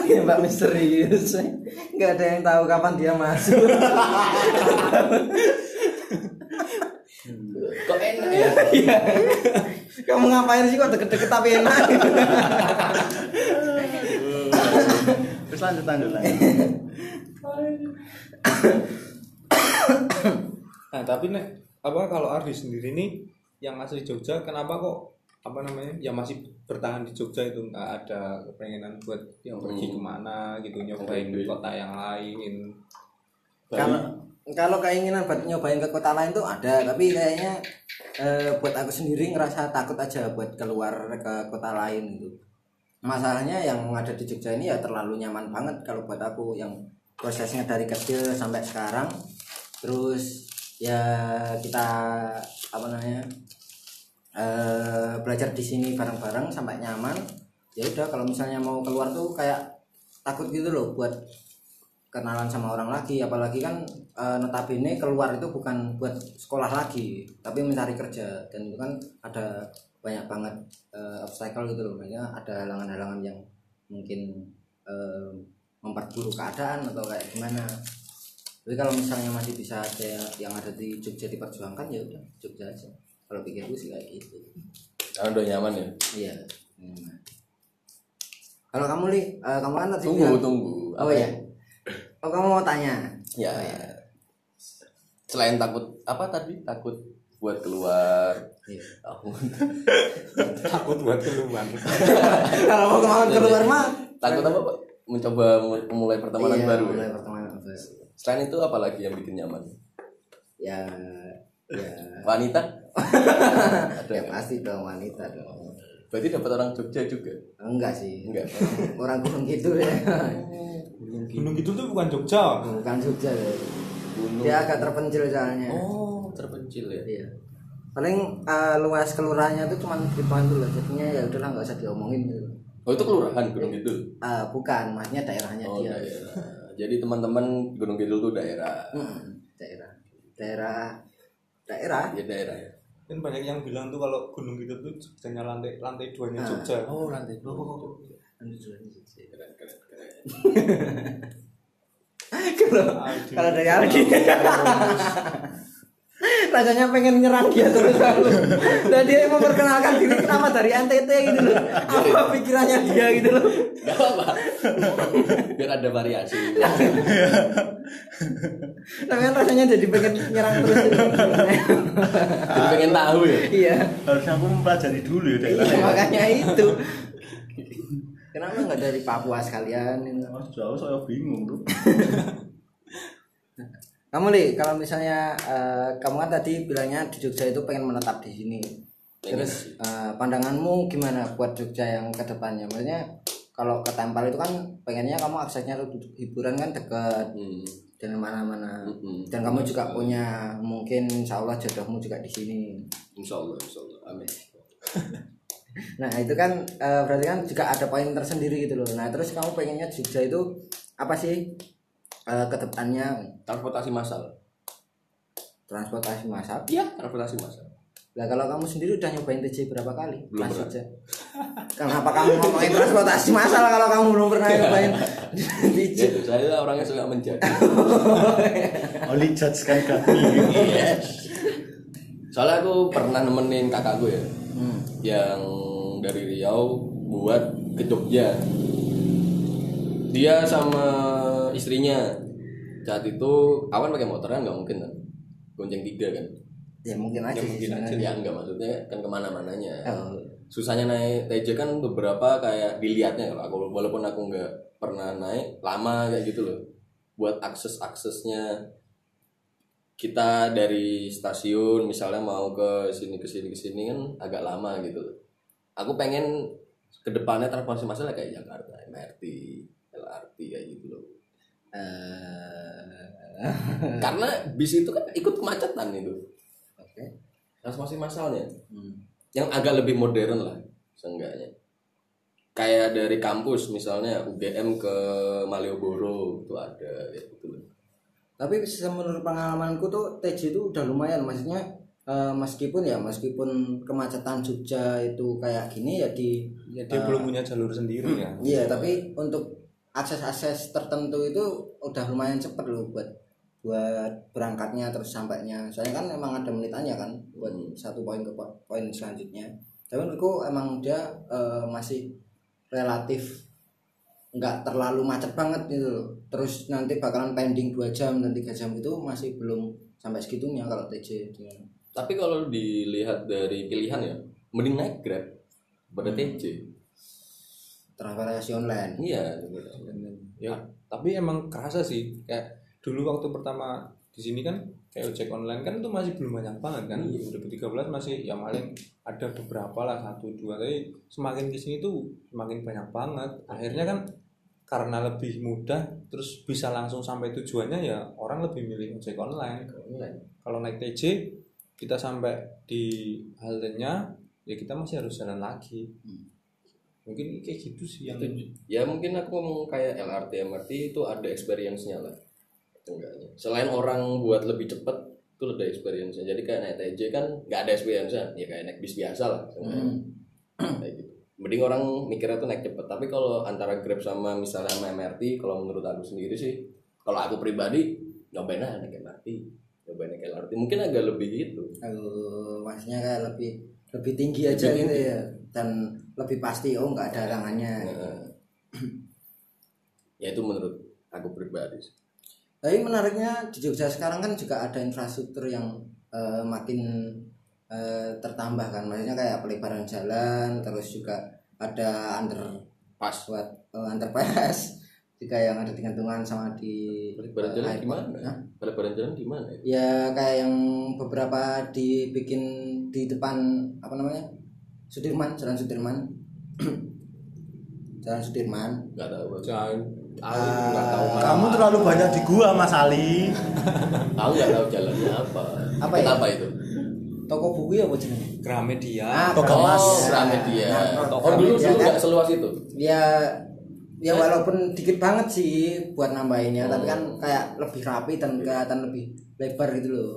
[SPEAKER 2] penembak misterius nggak ada yang tahu kapan dia masuk *laughs*
[SPEAKER 3] Kok enak ya?
[SPEAKER 2] kamu ngapain sih kok deket-deket tapi enak
[SPEAKER 4] Terus lanjut lanjut lanjut.
[SPEAKER 1] Nah, tapi nek apa kalau Ardi sendiri nih yang asli Jogja kenapa kok apa namanya ya masih bertahan di Jogja itu nggak ada kepengenan buat yang pergi kemana gitu nyobain
[SPEAKER 3] duit.
[SPEAKER 1] kota yang lain
[SPEAKER 2] kalau kalau keinginan buat nyobain ke kota lain tuh ada tapi kayaknya eh, buat aku sendiri ngerasa takut aja buat keluar ke kota lain gitu masalahnya yang ada di Jogja ini ya terlalu nyaman banget kalau buat aku yang prosesnya dari kecil sampai sekarang terus ya kita apa namanya eh, belajar di sini bareng-bareng sampai nyaman ya udah kalau misalnya mau keluar tuh kayak takut gitu loh buat kenalan sama orang lagi apalagi kan eh, notabene keluar itu bukan buat sekolah lagi tapi mencari kerja dan itu kan ada banyak banget eh, obstacle gitu loh makanya ada halangan-halangan yang mungkin eh, memperburuk keadaan atau kayak gimana tapi kalau misalnya masih bisa ada yang- yang ada di Jogja diperjuangkan ya udah Jogja aja kalau pikirku sih kayak gitu
[SPEAKER 3] Karena udah nyaman ya.
[SPEAKER 2] iya Hmm. kalau kamu li eh, kamu kan tadi
[SPEAKER 3] Tunggu,
[SPEAKER 2] bilang-
[SPEAKER 3] tunggu.
[SPEAKER 2] oh
[SPEAKER 3] iya.
[SPEAKER 2] ya oh kamu mau tanya
[SPEAKER 3] Ya. Selain takut apa tadi? Takut buat keluar.
[SPEAKER 2] Iya.
[SPEAKER 3] Takut.
[SPEAKER 1] takut buat keluar
[SPEAKER 2] kalau mau
[SPEAKER 3] Iya.
[SPEAKER 2] kemauan keluar mah
[SPEAKER 3] Takut apa, Pak? Mencoba memulai pertemanan
[SPEAKER 2] Iya,
[SPEAKER 3] baru. ya?
[SPEAKER 2] mulai pertemanan baru.
[SPEAKER 3] Selain itu apalagi yang bikin nyaman?
[SPEAKER 2] ya ya
[SPEAKER 3] Wanita?
[SPEAKER 2] ya pasti dong wanita dong
[SPEAKER 3] Berarti dapat orang Jogja juga.
[SPEAKER 2] enggak sih
[SPEAKER 3] Enggak. gitu.
[SPEAKER 2] orang gunung gitu ya
[SPEAKER 1] Gunung Kidul tuh bukan Jogja
[SPEAKER 2] bukan Jogja ya.
[SPEAKER 3] Gunung.
[SPEAKER 2] dia agak terpencil soalnya
[SPEAKER 3] Oh, terpencil ya.
[SPEAKER 2] iya paling eh, luas kelurahannya itu cuma ribuan dulu jadinya ya udahlah nggak usah diomongin gitu
[SPEAKER 3] Oh, itu kelurahan Gunung Kidul.
[SPEAKER 2] Eh, bukan Iya, maksudnya daerahnya
[SPEAKER 3] Oh,
[SPEAKER 2] dia Hmm.
[SPEAKER 3] daerah. Jadi teman-teman Gunung Kidul tuh daerah.
[SPEAKER 2] Mm, daerah daerah daerah
[SPEAKER 3] ya daerah ya.
[SPEAKER 1] kan banyak yang bilang tuh kalau gunung itu tuh Jogjanya lantai lantai duanya
[SPEAKER 2] Ah.
[SPEAKER 1] Jogja
[SPEAKER 3] Oh lantai dua. Keren keren keren.
[SPEAKER 2] kalau
[SPEAKER 1] Aduh.
[SPEAKER 2] kalau dari Algi rasanya pengen nyerang dia terus terus dan dia memperkenalkan diri kenapa dari NTT gitu loh apa pikirannya dia gitu loh
[SPEAKER 3] Gak apa. Biar ada variasi.
[SPEAKER 2] tapi kan rasanya jadi pengen nyerang terus gitu.
[SPEAKER 3] Jadi pengen tahu ya.
[SPEAKER 2] iya
[SPEAKER 4] harusnya aku mempelajari dulu ya
[SPEAKER 2] iya
[SPEAKER 4] daerah
[SPEAKER 2] makanya itu kenapa nggak dari Papua sekalian gitu?
[SPEAKER 4] Mas jauh saya bingung tuh
[SPEAKER 2] kamu li kalau misalnya eh, kamu kan tadi bilangnya di Jogja itu pengen menetap di sini
[SPEAKER 3] Pengen
[SPEAKER 2] terus eh, pandanganmu gimana buat Jogja yang kedepannya maksudnya kalau ke Tempel itu kan pengennya kamu aksesnya tuh hiburan kan dekat
[SPEAKER 3] Hmm.
[SPEAKER 2] dan mana-mana
[SPEAKER 3] Mm-mm.
[SPEAKER 2] dan kamu juga punya mungkin insya Allah jodohmu juga di sini
[SPEAKER 3] Insya Allah Insya Allah. Amin.
[SPEAKER 2] nah itu kan eh, berarti kan juga ada poin tersendiri gitu loh nah terus kamu pengennya Jogja itu apa sih eh, kedepannya
[SPEAKER 3] Transportasi massal.
[SPEAKER 2] transportasi massal
[SPEAKER 3] Iya transportasi massal.
[SPEAKER 2] Lah kalau kamu sendiri udah nyobain TJ berapa kali?
[SPEAKER 3] Belum
[SPEAKER 2] Mas
[SPEAKER 3] pernah.
[SPEAKER 2] Jogja? Kenapa kamu ngomongin transportasi masal kalau kamu belum pernah nyobain TJ?
[SPEAKER 3] *laughs* Ya, saya orangnya suka menjadi.
[SPEAKER 4] Oli judge kan kami
[SPEAKER 3] Soalnya aku pernah nemenin kakak gue ya,
[SPEAKER 2] Hmm.
[SPEAKER 3] yang dari Riau buat ke Jogja. Dia sama istrinya saat itu awan pakai motor kan nggak mungkin kan, gonceng tiga kan.
[SPEAKER 2] Ya mungkin aja
[SPEAKER 1] Ya,
[SPEAKER 2] sih
[SPEAKER 1] mungkin
[SPEAKER 2] sebenarnya.
[SPEAKER 3] Ya enggak maksudnya kan kemana-mananya.
[SPEAKER 2] Oh,
[SPEAKER 3] Susahnya naik TJ kan beberapa kayak dilihatnya kalau aku walaupun aku nggak pernah naik lama kayak gitu loh. Buat akses-aksesnya kita dari stasiun misalnya mau ke sini ke sini ke sini kan agak lama gitu loh. Aku pengen kedepannya transportasi masalah kayak Jakarta, MRT, LRT kayak gitu loh.
[SPEAKER 2] eh,
[SPEAKER 3] Karena bis itu kan ikut kemacetan itu.
[SPEAKER 2] Oke.
[SPEAKER 3] Transportasi masalnya.
[SPEAKER 2] Hmm.
[SPEAKER 3] yang agak lebih modern lah seenggaknya kayak dari kampus misalnya UGM ke Malioboro itu ada ya gitu
[SPEAKER 2] Tapi se- menurut pengalamanku tuh TJ itu udah lumayan maksudnya eh, meskipun ya meskipun kemacetan Jogja itu kayak gini ya di
[SPEAKER 1] ya dia belum punya jalur sendiri ya
[SPEAKER 2] Iya, tapi untuk akses-akses tertentu itu udah lumayan cepet loh buat buat berangkatnya terus sampainya. Soalnya kan emang ada menitannya kan buat satu poin ke po- poin selanjutnya. Tapi menurutku emang dia eh, masih relatif nggak terlalu macet banget gitu loh. Terus nanti bakalan pending 2 jam dan 3 jam itu masih belum sampai segitunya kalau TJ itu.
[SPEAKER 3] tapi kalau dilihat dari pilihan ya mending naik Grab pada TJ
[SPEAKER 2] Transportasi online.
[SPEAKER 3] iya
[SPEAKER 1] ya tapi emang kerasa sih kayak dulu waktu pertama di sini kan kayak ojek online kan itu masih belum banyak banget kan 2013 masih ya paling ada beberapa lah satu dua tapi semakin kesini tuh semakin banyak banget akhirnya kan karena lebih mudah terus bisa langsung sampai tujuannya ya orang lebih milih ojek online kalau naik TJ kita sampai di haltenya ya kita masih harus jalan lagi mungkin kayak gitu sih yang
[SPEAKER 3] ya mungkin aku ngomong kayak LRT MRT itu ada experience-nya lah enggaknya selain orang buat lebih cepet itu ada experience-nya jadi kayak naik TJ kan nggak ada experience-nya ya kayak naik bis biasa lah seenggaknya. kayak gitu mending orang mikirnya tuh naik cepet tapi kalau antara Grab sama misalnya sama MRT kalau menurut aku sendiri sih kalau aku pribadi nyobain aja naik MRT nyobain naik LRT mungkin agak lebih gitu
[SPEAKER 2] Aduh, Eh, maksudnya kayak lebih lebih tinggi aja gitu ya dan lebih pasti oh nggak ada halangannya.
[SPEAKER 3] Nah, ya itu menurut aku pribadi sih.
[SPEAKER 2] Tapi menariknya di Jogja sekarang kan juga ada infrastruktur yang eh, makin eh, tertambah kan, maksudnya kayak pelebaran jalan, terus juga ada under
[SPEAKER 3] pas
[SPEAKER 2] buat eh, underpass *laughs* juga yang ada di Kentungan sama di
[SPEAKER 3] Pelebaran
[SPEAKER 2] eh,
[SPEAKER 3] jalan
[SPEAKER 2] airport.
[SPEAKER 3] gimana?
[SPEAKER 2] Hah?
[SPEAKER 3] Pelebaran jalan gimana ya?
[SPEAKER 2] ya kayak yang beberapa dibikin di depan apa namanya Sudirman Jalan Sudirman *clears throat* Jalan Sudirman
[SPEAKER 3] Gak tahu. aku.
[SPEAKER 1] jangan
[SPEAKER 3] Aku nggak
[SPEAKER 2] Ah,
[SPEAKER 3] tahu. mana.
[SPEAKER 4] kamu terlalu banyak di gua Mas Ali
[SPEAKER 3] Aku nggak tahu jalannya apa.
[SPEAKER 2] Apa
[SPEAKER 3] Itu
[SPEAKER 2] ya?
[SPEAKER 3] Apa itu?
[SPEAKER 2] toko buku ya apa jenengnya?
[SPEAKER 1] Gramedia
[SPEAKER 2] Ah,
[SPEAKER 4] Toko
[SPEAKER 2] Gramedia.
[SPEAKER 4] Mas.
[SPEAKER 3] Oh, Gramedia.
[SPEAKER 2] Nah,
[SPEAKER 3] Oh,
[SPEAKER 2] Gramedia
[SPEAKER 3] dulu dulu
[SPEAKER 2] kan
[SPEAKER 3] nggak seluas itu.
[SPEAKER 2] ya ya walaupun dikit banget sih buat nambahinnya tapi kan kayak lebih rapi dan kelihatan lebih lebar gitu loh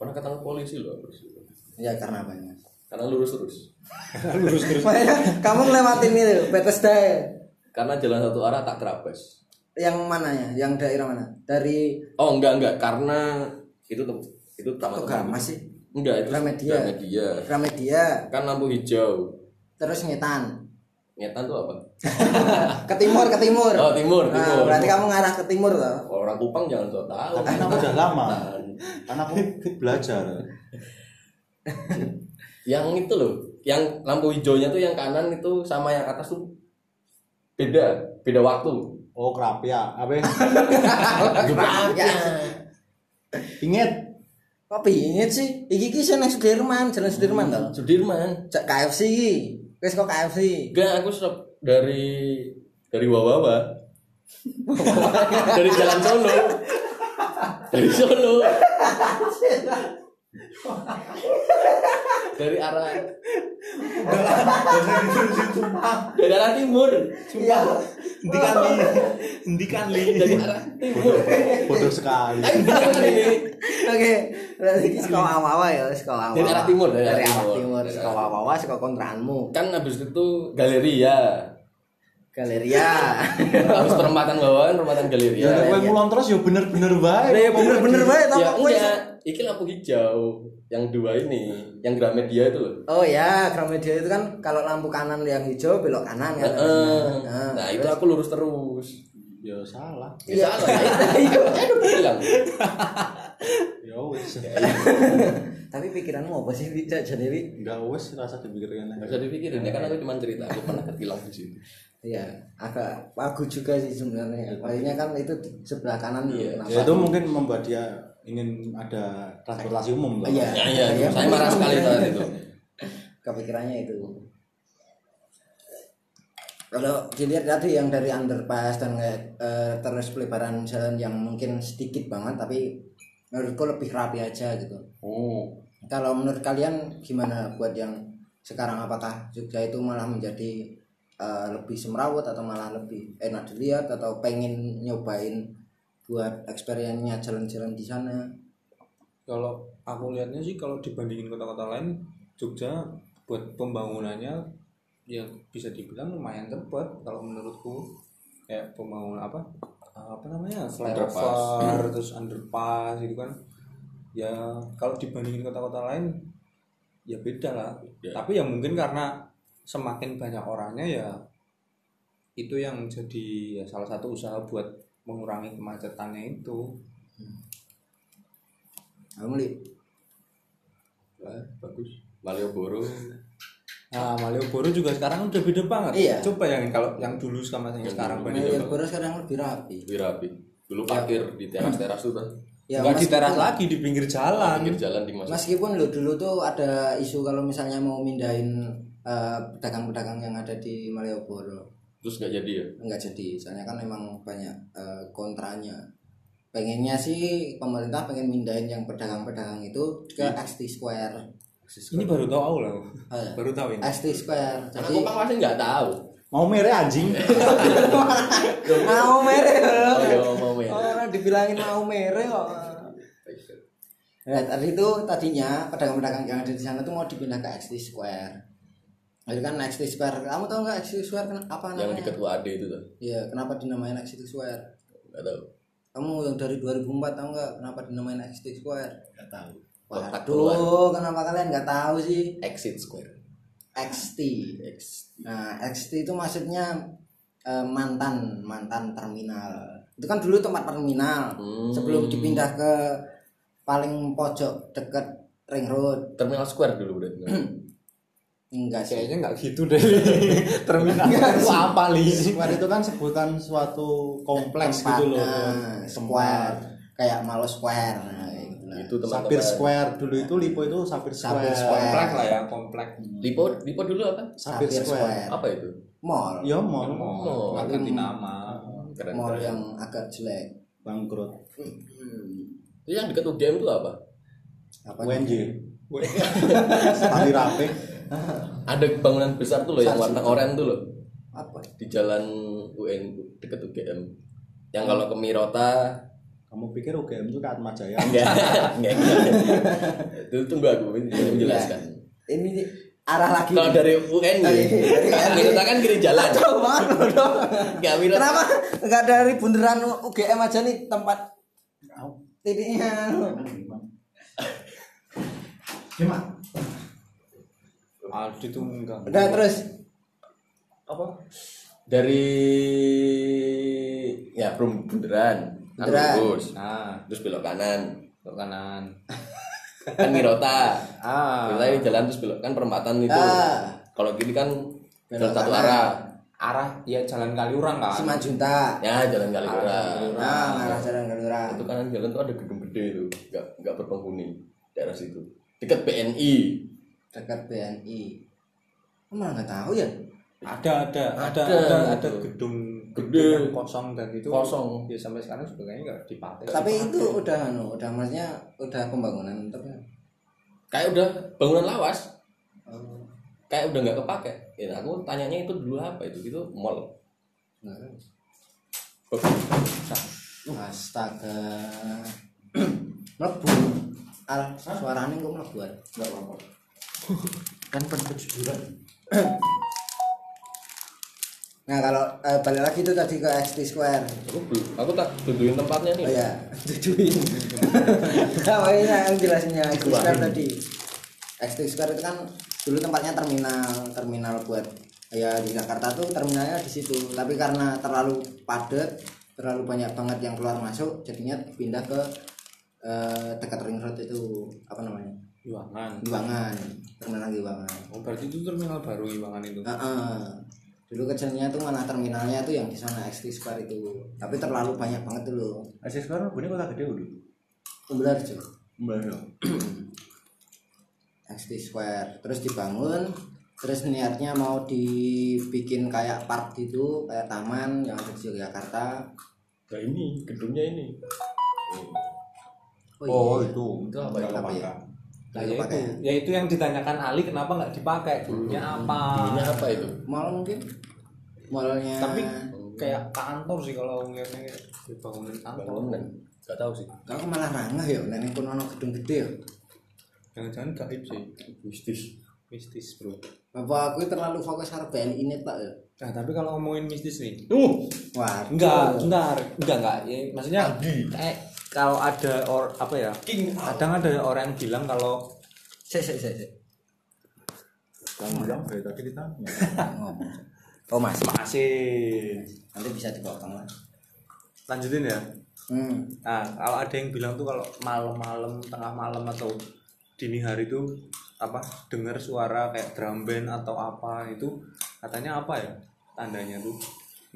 [SPEAKER 3] Pernah ketangkep polisi loh terus.
[SPEAKER 2] ya karena banyak *laughs*
[SPEAKER 3] Karena lurus terus.
[SPEAKER 1] lurus terus
[SPEAKER 2] makanya kamu ngelewatin itu Bethesda ya?
[SPEAKER 3] Karena jalan satu arah tak terabas.
[SPEAKER 2] yang mana ya yang daerah mana dari
[SPEAKER 3] Oh enggak enggak karena itu tem- itu taman
[SPEAKER 2] Toga
[SPEAKER 3] teman.
[SPEAKER 2] masih
[SPEAKER 3] Enggak itu
[SPEAKER 2] Gramedia.
[SPEAKER 3] Gramedia.
[SPEAKER 2] Gramedia
[SPEAKER 3] Kan lampu hijau.
[SPEAKER 2] terus Ngetan
[SPEAKER 3] Nyetan tuh apa?
[SPEAKER 2] ke timur ke timur
[SPEAKER 3] Oh, timur,
[SPEAKER 2] Nah,
[SPEAKER 3] timur.
[SPEAKER 2] berarti kamu ngarah ke timur loh
[SPEAKER 3] Orang Kupang jangan so tahu.
[SPEAKER 4] Tapi kan aku udah lama. Kan aku belajar.
[SPEAKER 3] yang itu loh, yang lampu hijaunya tuh yang kanan itu sama yang atas tuh beda, beda waktu.
[SPEAKER 4] Oh, kerap ya. Apa?
[SPEAKER 2] ya
[SPEAKER 4] Ingat
[SPEAKER 2] kok bingit sih iki ki sing nang Sudirman jalan Sudirman toh
[SPEAKER 3] Sudirman.
[SPEAKER 2] cek KFC iki wis kok KFC
[SPEAKER 3] Enggak, aku stop dari dari Wawawa. dari Jalan Solo. Dari Solo. dari arah dari arah timur
[SPEAKER 2] iya
[SPEAKER 1] hentikan li hentikan li
[SPEAKER 3] dari arah timur
[SPEAKER 4] bodoh sekali.
[SPEAKER 3] Eh, bener kan ini?
[SPEAKER 2] oke berarti iki saka awawa ya saka awawa
[SPEAKER 3] Dari arah timur,
[SPEAKER 2] dari arah timur saka awawa saka kontraanmu
[SPEAKER 3] kan habis itu galeria *laughs*
[SPEAKER 2] galeria
[SPEAKER 3] habis perempatan bawahan perempatan galeria
[SPEAKER 4] Ya, gue mulon terus ya bener-bener baik.
[SPEAKER 2] ya bener-bener banget
[SPEAKER 3] ya
[SPEAKER 2] tampak gue
[SPEAKER 3] enggak iki lampu hijau yang dua ini yang Gramedia itu loh
[SPEAKER 2] Oh ya, Gramedia itu kan kalau lampu kanan yang hijau belok kanan kan.
[SPEAKER 3] Heeh.
[SPEAKER 2] Nah,
[SPEAKER 3] nah itu aku lurus terus
[SPEAKER 4] Ya salah.
[SPEAKER 3] ya salah ya aduh bilang
[SPEAKER 4] Ya wes.
[SPEAKER 2] Tapi pikiranmu apa sih Cak Janewi?
[SPEAKER 4] Enggak wes rasa dipikirkan
[SPEAKER 3] nggak usah dipikirin ya kan aku cuma cerita aku pernah ketilang di situ
[SPEAKER 2] Iya, agak pagu juga sih sebenarnya. Palingnya kan itu di sebelah kanan
[SPEAKER 3] Iya.
[SPEAKER 2] Kenapa?
[SPEAKER 4] Ya, itu mungkin membuat dia ingin ada transportasi umum lah.
[SPEAKER 2] Iya.
[SPEAKER 3] ya ya saya marah sekali saat itu
[SPEAKER 2] Kepikirannya itu. Kalau dilihat tadi yang dari underpass dan kayak eh, terus pelebaran jalan yang mungkin sedikit banget tapi menurutku lebih rapi aja gitu.
[SPEAKER 3] oh
[SPEAKER 2] Kalau menurut kalian gimana buat yang sekarang apakah Jogja itu malah menjadi eh, lebih semrawut atau malah lebih enak dilihat atau pengen nyobain buat eksperiennya jalan-jalan di sana?
[SPEAKER 1] kalau aku lihatnya sih kalau dibandingin kota-kota lain Jogja buat pembangunannya ya bisa dibilang lumayan cepat kalau menurutku kayak pembangunan apa eh, apa namanya flyover terus underpass gitu kan ya kalau dibandingin kota-kota lain ya beda lah
[SPEAKER 3] Beda.
[SPEAKER 1] tapi ya mungkin karena semakin banyak orangnya ya itu yang jadi ya salah satu usaha buat mengurangi kemacetannya itu
[SPEAKER 2] Kamu li,
[SPEAKER 3] Wah, Ya, bagus Malioboro
[SPEAKER 1] Nah, Malioboro juga sekarang udah beda banget.
[SPEAKER 2] Iya.
[SPEAKER 1] Coba yang kalau yang dulu sama yang sekarang bandingin.
[SPEAKER 2] Malioboro sekarang lebih rapi.
[SPEAKER 3] lebih rapi dulu parkir di teras-teras tuh kan
[SPEAKER 2] Ya,
[SPEAKER 1] Nggak di
[SPEAKER 2] meskipun-
[SPEAKER 1] teras lagi di pinggir jalan.
[SPEAKER 3] pinggir jalan di masa
[SPEAKER 2] Meskipun lo dulu tuh ada isu kalau misalnya mau mindahin eh, pedagang-pedagang yang ada di Malioboro
[SPEAKER 3] terus nggak jadi ya
[SPEAKER 2] nggak jadi, soalnya kan memang banyak eh, kontranya. Pengennya sih pemerintah pengen mindahin yang pedagang-pedagang itu ke
[SPEAKER 3] Hmm.
[SPEAKER 2] XT Square,
[SPEAKER 1] Ini baru tahu aku loh.
[SPEAKER 2] Ah, iya.
[SPEAKER 1] Baru tahu ini.
[SPEAKER 2] XT Square.
[SPEAKER 3] Hmm. karena
[SPEAKER 2] Jadi
[SPEAKER 3] Kupang pasti nggak tahu
[SPEAKER 4] Mau mere anjing.
[SPEAKER 2] Iya. mau mere.
[SPEAKER 3] oh ya mau ya
[SPEAKER 2] Orang dibilangin mau mere kok. Nah, tadi itu tadinya pedagang-pedagang yang ada di sana tuh mau dipindah ke XT Square. Itu kan XT Square. Kamu tahu nggak XT Square ken- apa
[SPEAKER 3] yang
[SPEAKER 2] namanya?
[SPEAKER 3] dekat UAD itu tuh
[SPEAKER 2] Iya, kenapa dinamain XT Square?
[SPEAKER 3] nggak tahu
[SPEAKER 2] Kamu yang dari 2004 tahu nggak kenapa dinamain XT Square?
[SPEAKER 4] Enggak tahu.
[SPEAKER 3] Kotak
[SPEAKER 2] Waduh, kenapa kalian nggak tahu sih?
[SPEAKER 3] exit square
[SPEAKER 2] XT. Nah, XT itu maksudnya eh, mantan mantan terminal. Itu kan dulu tempat terminal
[SPEAKER 3] Hmm.
[SPEAKER 2] sebelum dipindah ke paling pojok deket ring road.
[SPEAKER 3] terminal square
[SPEAKER 2] *clears throat*
[SPEAKER 3] dulu berarti
[SPEAKER 2] Enggak sih.
[SPEAKER 1] Kayaknya nggak gitu deh. *laughs* Terminal itu apa
[SPEAKER 2] Nah,
[SPEAKER 1] li?
[SPEAKER 4] Square itu kan sebutan suatu kompleks
[SPEAKER 2] Tempat,
[SPEAKER 4] gitu loh.
[SPEAKER 2] nah, square kayak Malo Square. Nah, kayak gitu lah.
[SPEAKER 3] itu teman-teman
[SPEAKER 4] Sapir Square dulu itu Lipo itu Sapir
[SPEAKER 2] Sapir
[SPEAKER 4] Square.
[SPEAKER 2] Square.
[SPEAKER 1] Komplek lah ya, komplek.
[SPEAKER 3] lipo lipo dulu apa
[SPEAKER 4] Sapir
[SPEAKER 2] Sapir
[SPEAKER 4] Square.
[SPEAKER 2] Square.
[SPEAKER 3] apa itu
[SPEAKER 2] Mall.
[SPEAKER 4] Ya mall
[SPEAKER 3] Oh,
[SPEAKER 1] Oh, ganti nama.
[SPEAKER 3] keren
[SPEAKER 2] Mall
[SPEAKER 3] keren.
[SPEAKER 2] yang agak jelek.
[SPEAKER 4] bangkrut.
[SPEAKER 3] itu yang dekat UGM itu apa
[SPEAKER 2] Apa
[SPEAKER 4] UNJ.
[SPEAKER 3] *laughs*
[SPEAKER 4] Tapi rapi. *laughs*
[SPEAKER 3] ada bangunan besar tuh loh yang warna oranye tuh loh apa di jalan UN deket UGM yang kalau ke Mirota
[SPEAKER 4] Kamu pikir UGM itu Atma Jaya?
[SPEAKER 2] *laughs*
[SPEAKER 3] enggak enggak enggak. itu tunggu aku
[SPEAKER 2] Iya.
[SPEAKER 3] ini menjelaskan
[SPEAKER 2] Ini arah lagi.
[SPEAKER 3] kalau dari UN ya Mirota kan kiri jalan
[SPEAKER 2] Jauh banget loh, dong.
[SPEAKER 3] enggak Mirota
[SPEAKER 2] Kenapa nggak dari bundaran UGM aja nih tempat titiknya?
[SPEAKER 4] Cuma
[SPEAKER 1] Aldi tuh enggak.
[SPEAKER 2] Udah Nah, terus
[SPEAKER 3] apa dari ya Brum bundaran Kan
[SPEAKER 2] Bundaran.
[SPEAKER 3] lurus
[SPEAKER 1] Nah,
[SPEAKER 3] terus belok kanan
[SPEAKER 1] ke kanan.
[SPEAKER 3] kan Mirota
[SPEAKER 1] Ah,
[SPEAKER 3] Kita ini jalan terus belok kan perempatan itu.
[SPEAKER 2] Ah.
[SPEAKER 3] Kalau gini kan jalan
[SPEAKER 2] Belok
[SPEAKER 3] satu
[SPEAKER 2] kanan.
[SPEAKER 3] arah.
[SPEAKER 1] arah ya jalan Kaliurang kan.
[SPEAKER 2] Simajunta.
[SPEAKER 3] Ya jalan
[SPEAKER 2] Ah,
[SPEAKER 3] kali
[SPEAKER 1] Kaliurang.
[SPEAKER 2] Nah, arah jalan Gelora.
[SPEAKER 3] Itu kanan jalan tuh ada gedung gede itu, nggak nggak berpenghuni daerah situ. Dekat BNI.
[SPEAKER 2] Dekat BNI. Kok malah nggak tahu ya?
[SPEAKER 1] Ada ada ada
[SPEAKER 3] Ada,
[SPEAKER 1] ada, ada
[SPEAKER 3] gitu.
[SPEAKER 1] gedung
[SPEAKER 3] Gede.
[SPEAKER 1] gedung yang kosong dan itu
[SPEAKER 3] Kosong.
[SPEAKER 1] Ya sampai sekarang juga kayaknya enggak dipakai.
[SPEAKER 2] Tapi itu udah anu, udah maksudnya udah pembangunan untuk
[SPEAKER 3] Kayak udah bangunan lawas,
[SPEAKER 2] Oh,
[SPEAKER 3] kayak udah nggak kepake. Ya, aku tanyanya itu dulu apa itu? Itu mall.
[SPEAKER 2] nggak tahu.
[SPEAKER 3] Oh,
[SPEAKER 2] Astaga. *clears throat* mlebu. Al, suarane kok mlebu. Al?
[SPEAKER 4] nggak apa-apa.
[SPEAKER 2] Kan penjujuran. *clears throat* nah, kalau eh, balik lagi itu tadi ke XT Square.
[SPEAKER 3] Aku belum, aku tak tentuin tempatnya nih.
[SPEAKER 2] Oh ya, tujuin. *laughs* Nah, makanya yang jelasnya XT Square tadi. XT Square itu kan dulu tempatnya terminal, terminal buat ya di Jakarta tuh terminalnya di situ. Tapi karena terlalu padat, terlalu banyak banget yang keluar masuk, jadinya pindah ke eh, dekat ring road itu apa namanya?
[SPEAKER 1] Iwangan.
[SPEAKER 2] Giwangan, terminal Giwangan.
[SPEAKER 1] Oh, berarti itu terminal baru Iwangan itu.
[SPEAKER 2] Nah, eh, dulu kecilnya tuh malah terminalnya tuh yang di sana XT Square itu. Tapi terlalu banyak banget dulu.
[SPEAKER 4] Asis sekarang bunyi kota gede udah.
[SPEAKER 2] Benar juga.
[SPEAKER 4] Mbak ya.
[SPEAKER 2] XT Square terus dibangun terus niatnya mau dibikin kayak park gitu kayak taman yang ada di Yogyakarta
[SPEAKER 3] Nah, ini gedungnya ini.
[SPEAKER 2] oh, iya.
[SPEAKER 4] itu itu apa ya?
[SPEAKER 2] Apa ya?
[SPEAKER 1] Nah,
[SPEAKER 2] Nggak
[SPEAKER 1] ya itu,
[SPEAKER 2] dipakai.
[SPEAKER 1] ya itu yang ditanyakan Ali kenapa nggak dipakai dulunya
[SPEAKER 4] Hmm.
[SPEAKER 1] apa?
[SPEAKER 3] Gedungnya apa itu?
[SPEAKER 2] mall mungkin mallnya
[SPEAKER 1] Tapi kayak kantor sih kalau ngeliatnya kayak bangunan kantor.
[SPEAKER 3] Bangunan. Gak tahu sih.
[SPEAKER 2] aku malah rangah ya nenek kono ono gedung gede ya
[SPEAKER 1] Jangan-jangan gaib sih,
[SPEAKER 3] Mistis.
[SPEAKER 1] mistis bro.
[SPEAKER 2] apa aku terlalu fokus harus BNI ini tak ya
[SPEAKER 1] Nah tapi kalau ngomongin mistis nih,
[SPEAKER 3] Uh,
[SPEAKER 2] wah
[SPEAKER 1] Enggak, bentar. Enggak, enggak. Ya, maksudnya eh, kalau ada or apa ya? Kadang ada orang yang bilang kalau
[SPEAKER 2] sih sih sih sih.
[SPEAKER 4] Kamu bilang dari tadi ditanya.
[SPEAKER 2] ngomong oh mas
[SPEAKER 1] masih
[SPEAKER 2] nanti bisa dipotong lah
[SPEAKER 1] lanjutin ya.
[SPEAKER 2] hmm.
[SPEAKER 1] Nah, kalau ada yang bilang tuh kalau malam-malam tengah malam atau dini hari itu apa dengar suara kayak drum band atau apa itu katanya apa ya tandanya tuh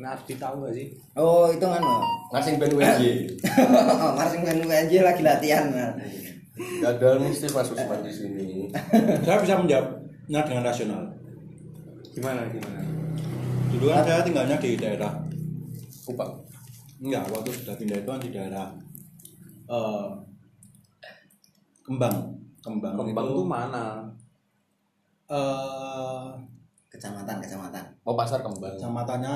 [SPEAKER 1] nah Ardi tahu gak sih
[SPEAKER 2] oh itu kan
[SPEAKER 3] ngasih band
[SPEAKER 2] *laughs*
[SPEAKER 3] WNJ.
[SPEAKER 2] Marching band aja lagi latihan Mas.
[SPEAKER 3] Gak ada mistis Mas Usman di sini.
[SPEAKER 4] Eh, Saya bisa menjawabnya dengan rasional.
[SPEAKER 1] gimana gimana
[SPEAKER 4] Dulu kan saya tinggalnya di daerah
[SPEAKER 3] Kupang.
[SPEAKER 4] Enggak, waktu sudah pindah itu kan di daerah eh, Kembang. Kembang.
[SPEAKER 1] kembang
[SPEAKER 4] itu,
[SPEAKER 1] tuh mana
[SPEAKER 4] eh,
[SPEAKER 2] Kecamatan, kecamatan.
[SPEAKER 3] Mau Oh, pasar kembang.
[SPEAKER 4] kecamatannya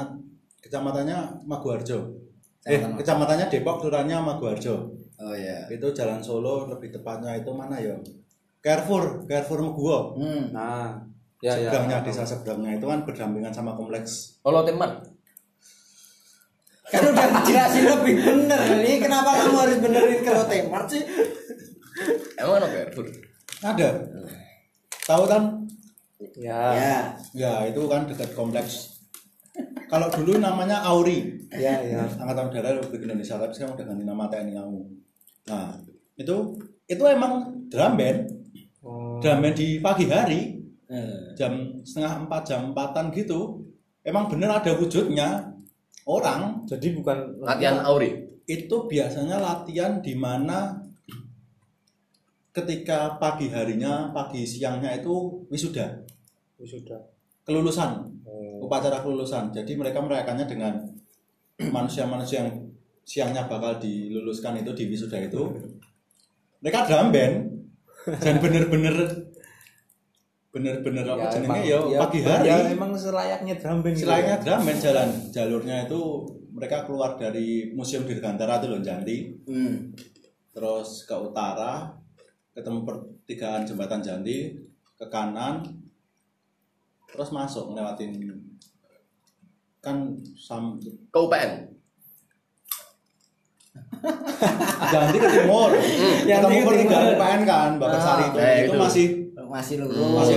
[SPEAKER 4] kecamatannya Maguarjo. Eh,
[SPEAKER 2] Kecamatan.
[SPEAKER 4] kecamatannya Depok, kelurahannya Maguarjo.
[SPEAKER 2] Oh iya.
[SPEAKER 4] Itu Jalan Solo, lebih tepatnya itu mana ya? Carrefour, Carrefour Meguwo.
[SPEAKER 2] Hmm.
[SPEAKER 1] nah ya ya
[SPEAKER 4] Seberangnya desa seberangnya itu kan berdampingan sama kompleks.
[SPEAKER 3] Kalau teman.
[SPEAKER 2] Kan udah dijelasin lebih bener nih, kenapa kamu harus benerin kalau tempat sih?
[SPEAKER 3] Emang ada Carrefour?
[SPEAKER 4] Ada. Tahu kan?
[SPEAKER 1] ya
[SPEAKER 2] Ya,
[SPEAKER 4] Ya, itu kan dekat kompleks. Kalau dulu namanya Auri.
[SPEAKER 1] ya ya
[SPEAKER 4] Angkatan Udara Republik Indonesia, tapi sekarang udah ganti nama TNI kamu. Nah, itu itu emang drum band,
[SPEAKER 1] Oh.
[SPEAKER 4] drum band di pagi hari
[SPEAKER 2] Hmm.
[SPEAKER 4] jam setengah empat jam empatan gitu emang bener ada wujudnya orang
[SPEAKER 1] jadi bukan
[SPEAKER 3] Latihan Auri.
[SPEAKER 4] itu biasanya latihan di mana ketika pagi harinya pagi siangnya itu wisuda
[SPEAKER 1] sudah
[SPEAKER 4] kelulusan upacara kelulusan jadi mereka merayakannya dengan manusia-manusia yang siangnya bakal diluluskan itu di wisuda itu mereka drum band dan bener-bener bener-bener apa
[SPEAKER 1] Ya,
[SPEAKER 4] jenenge
[SPEAKER 1] emang-
[SPEAKER 4] ya
[SPEAKER 1] ya,
[SPEAKER 4] pagi hari
[SPEAKER 1] ya, emang selayaknya drum band gitu
[SPEAKER 4] selainnya
[SPEAKER 1] ya.
[SPEAKER 4] drum band jalan jalurnya itu mereka keluar dari museum Dirgantara itu loh Janti
[SPEAKER 2] Hmm.
[SPEAKER 4] terus ke utara ketemu pertigaan jembatan Janti ke kanan terus masuk ngelewatin kan sam
[SPEAKER 3] ke UPN
[SPEAKER 4] Janti ke timur
[SPEAKER 1] Janti
[SPEAKER 4] ketemu
[SPEAKER 1] ke
[SPEAKER 4] pertigaan
[SPEAKER 1] timur. Ah.
[SPEAKER 4] UPN kan Bapak Sari itu,
[SPEAKER 3] kayak
[SPEAKER 4] itu
[SPEAKER 3] gitu.
[SPEAKER 4] masih
[SPEAKER 2] Masih
[SPEAKER 4] masih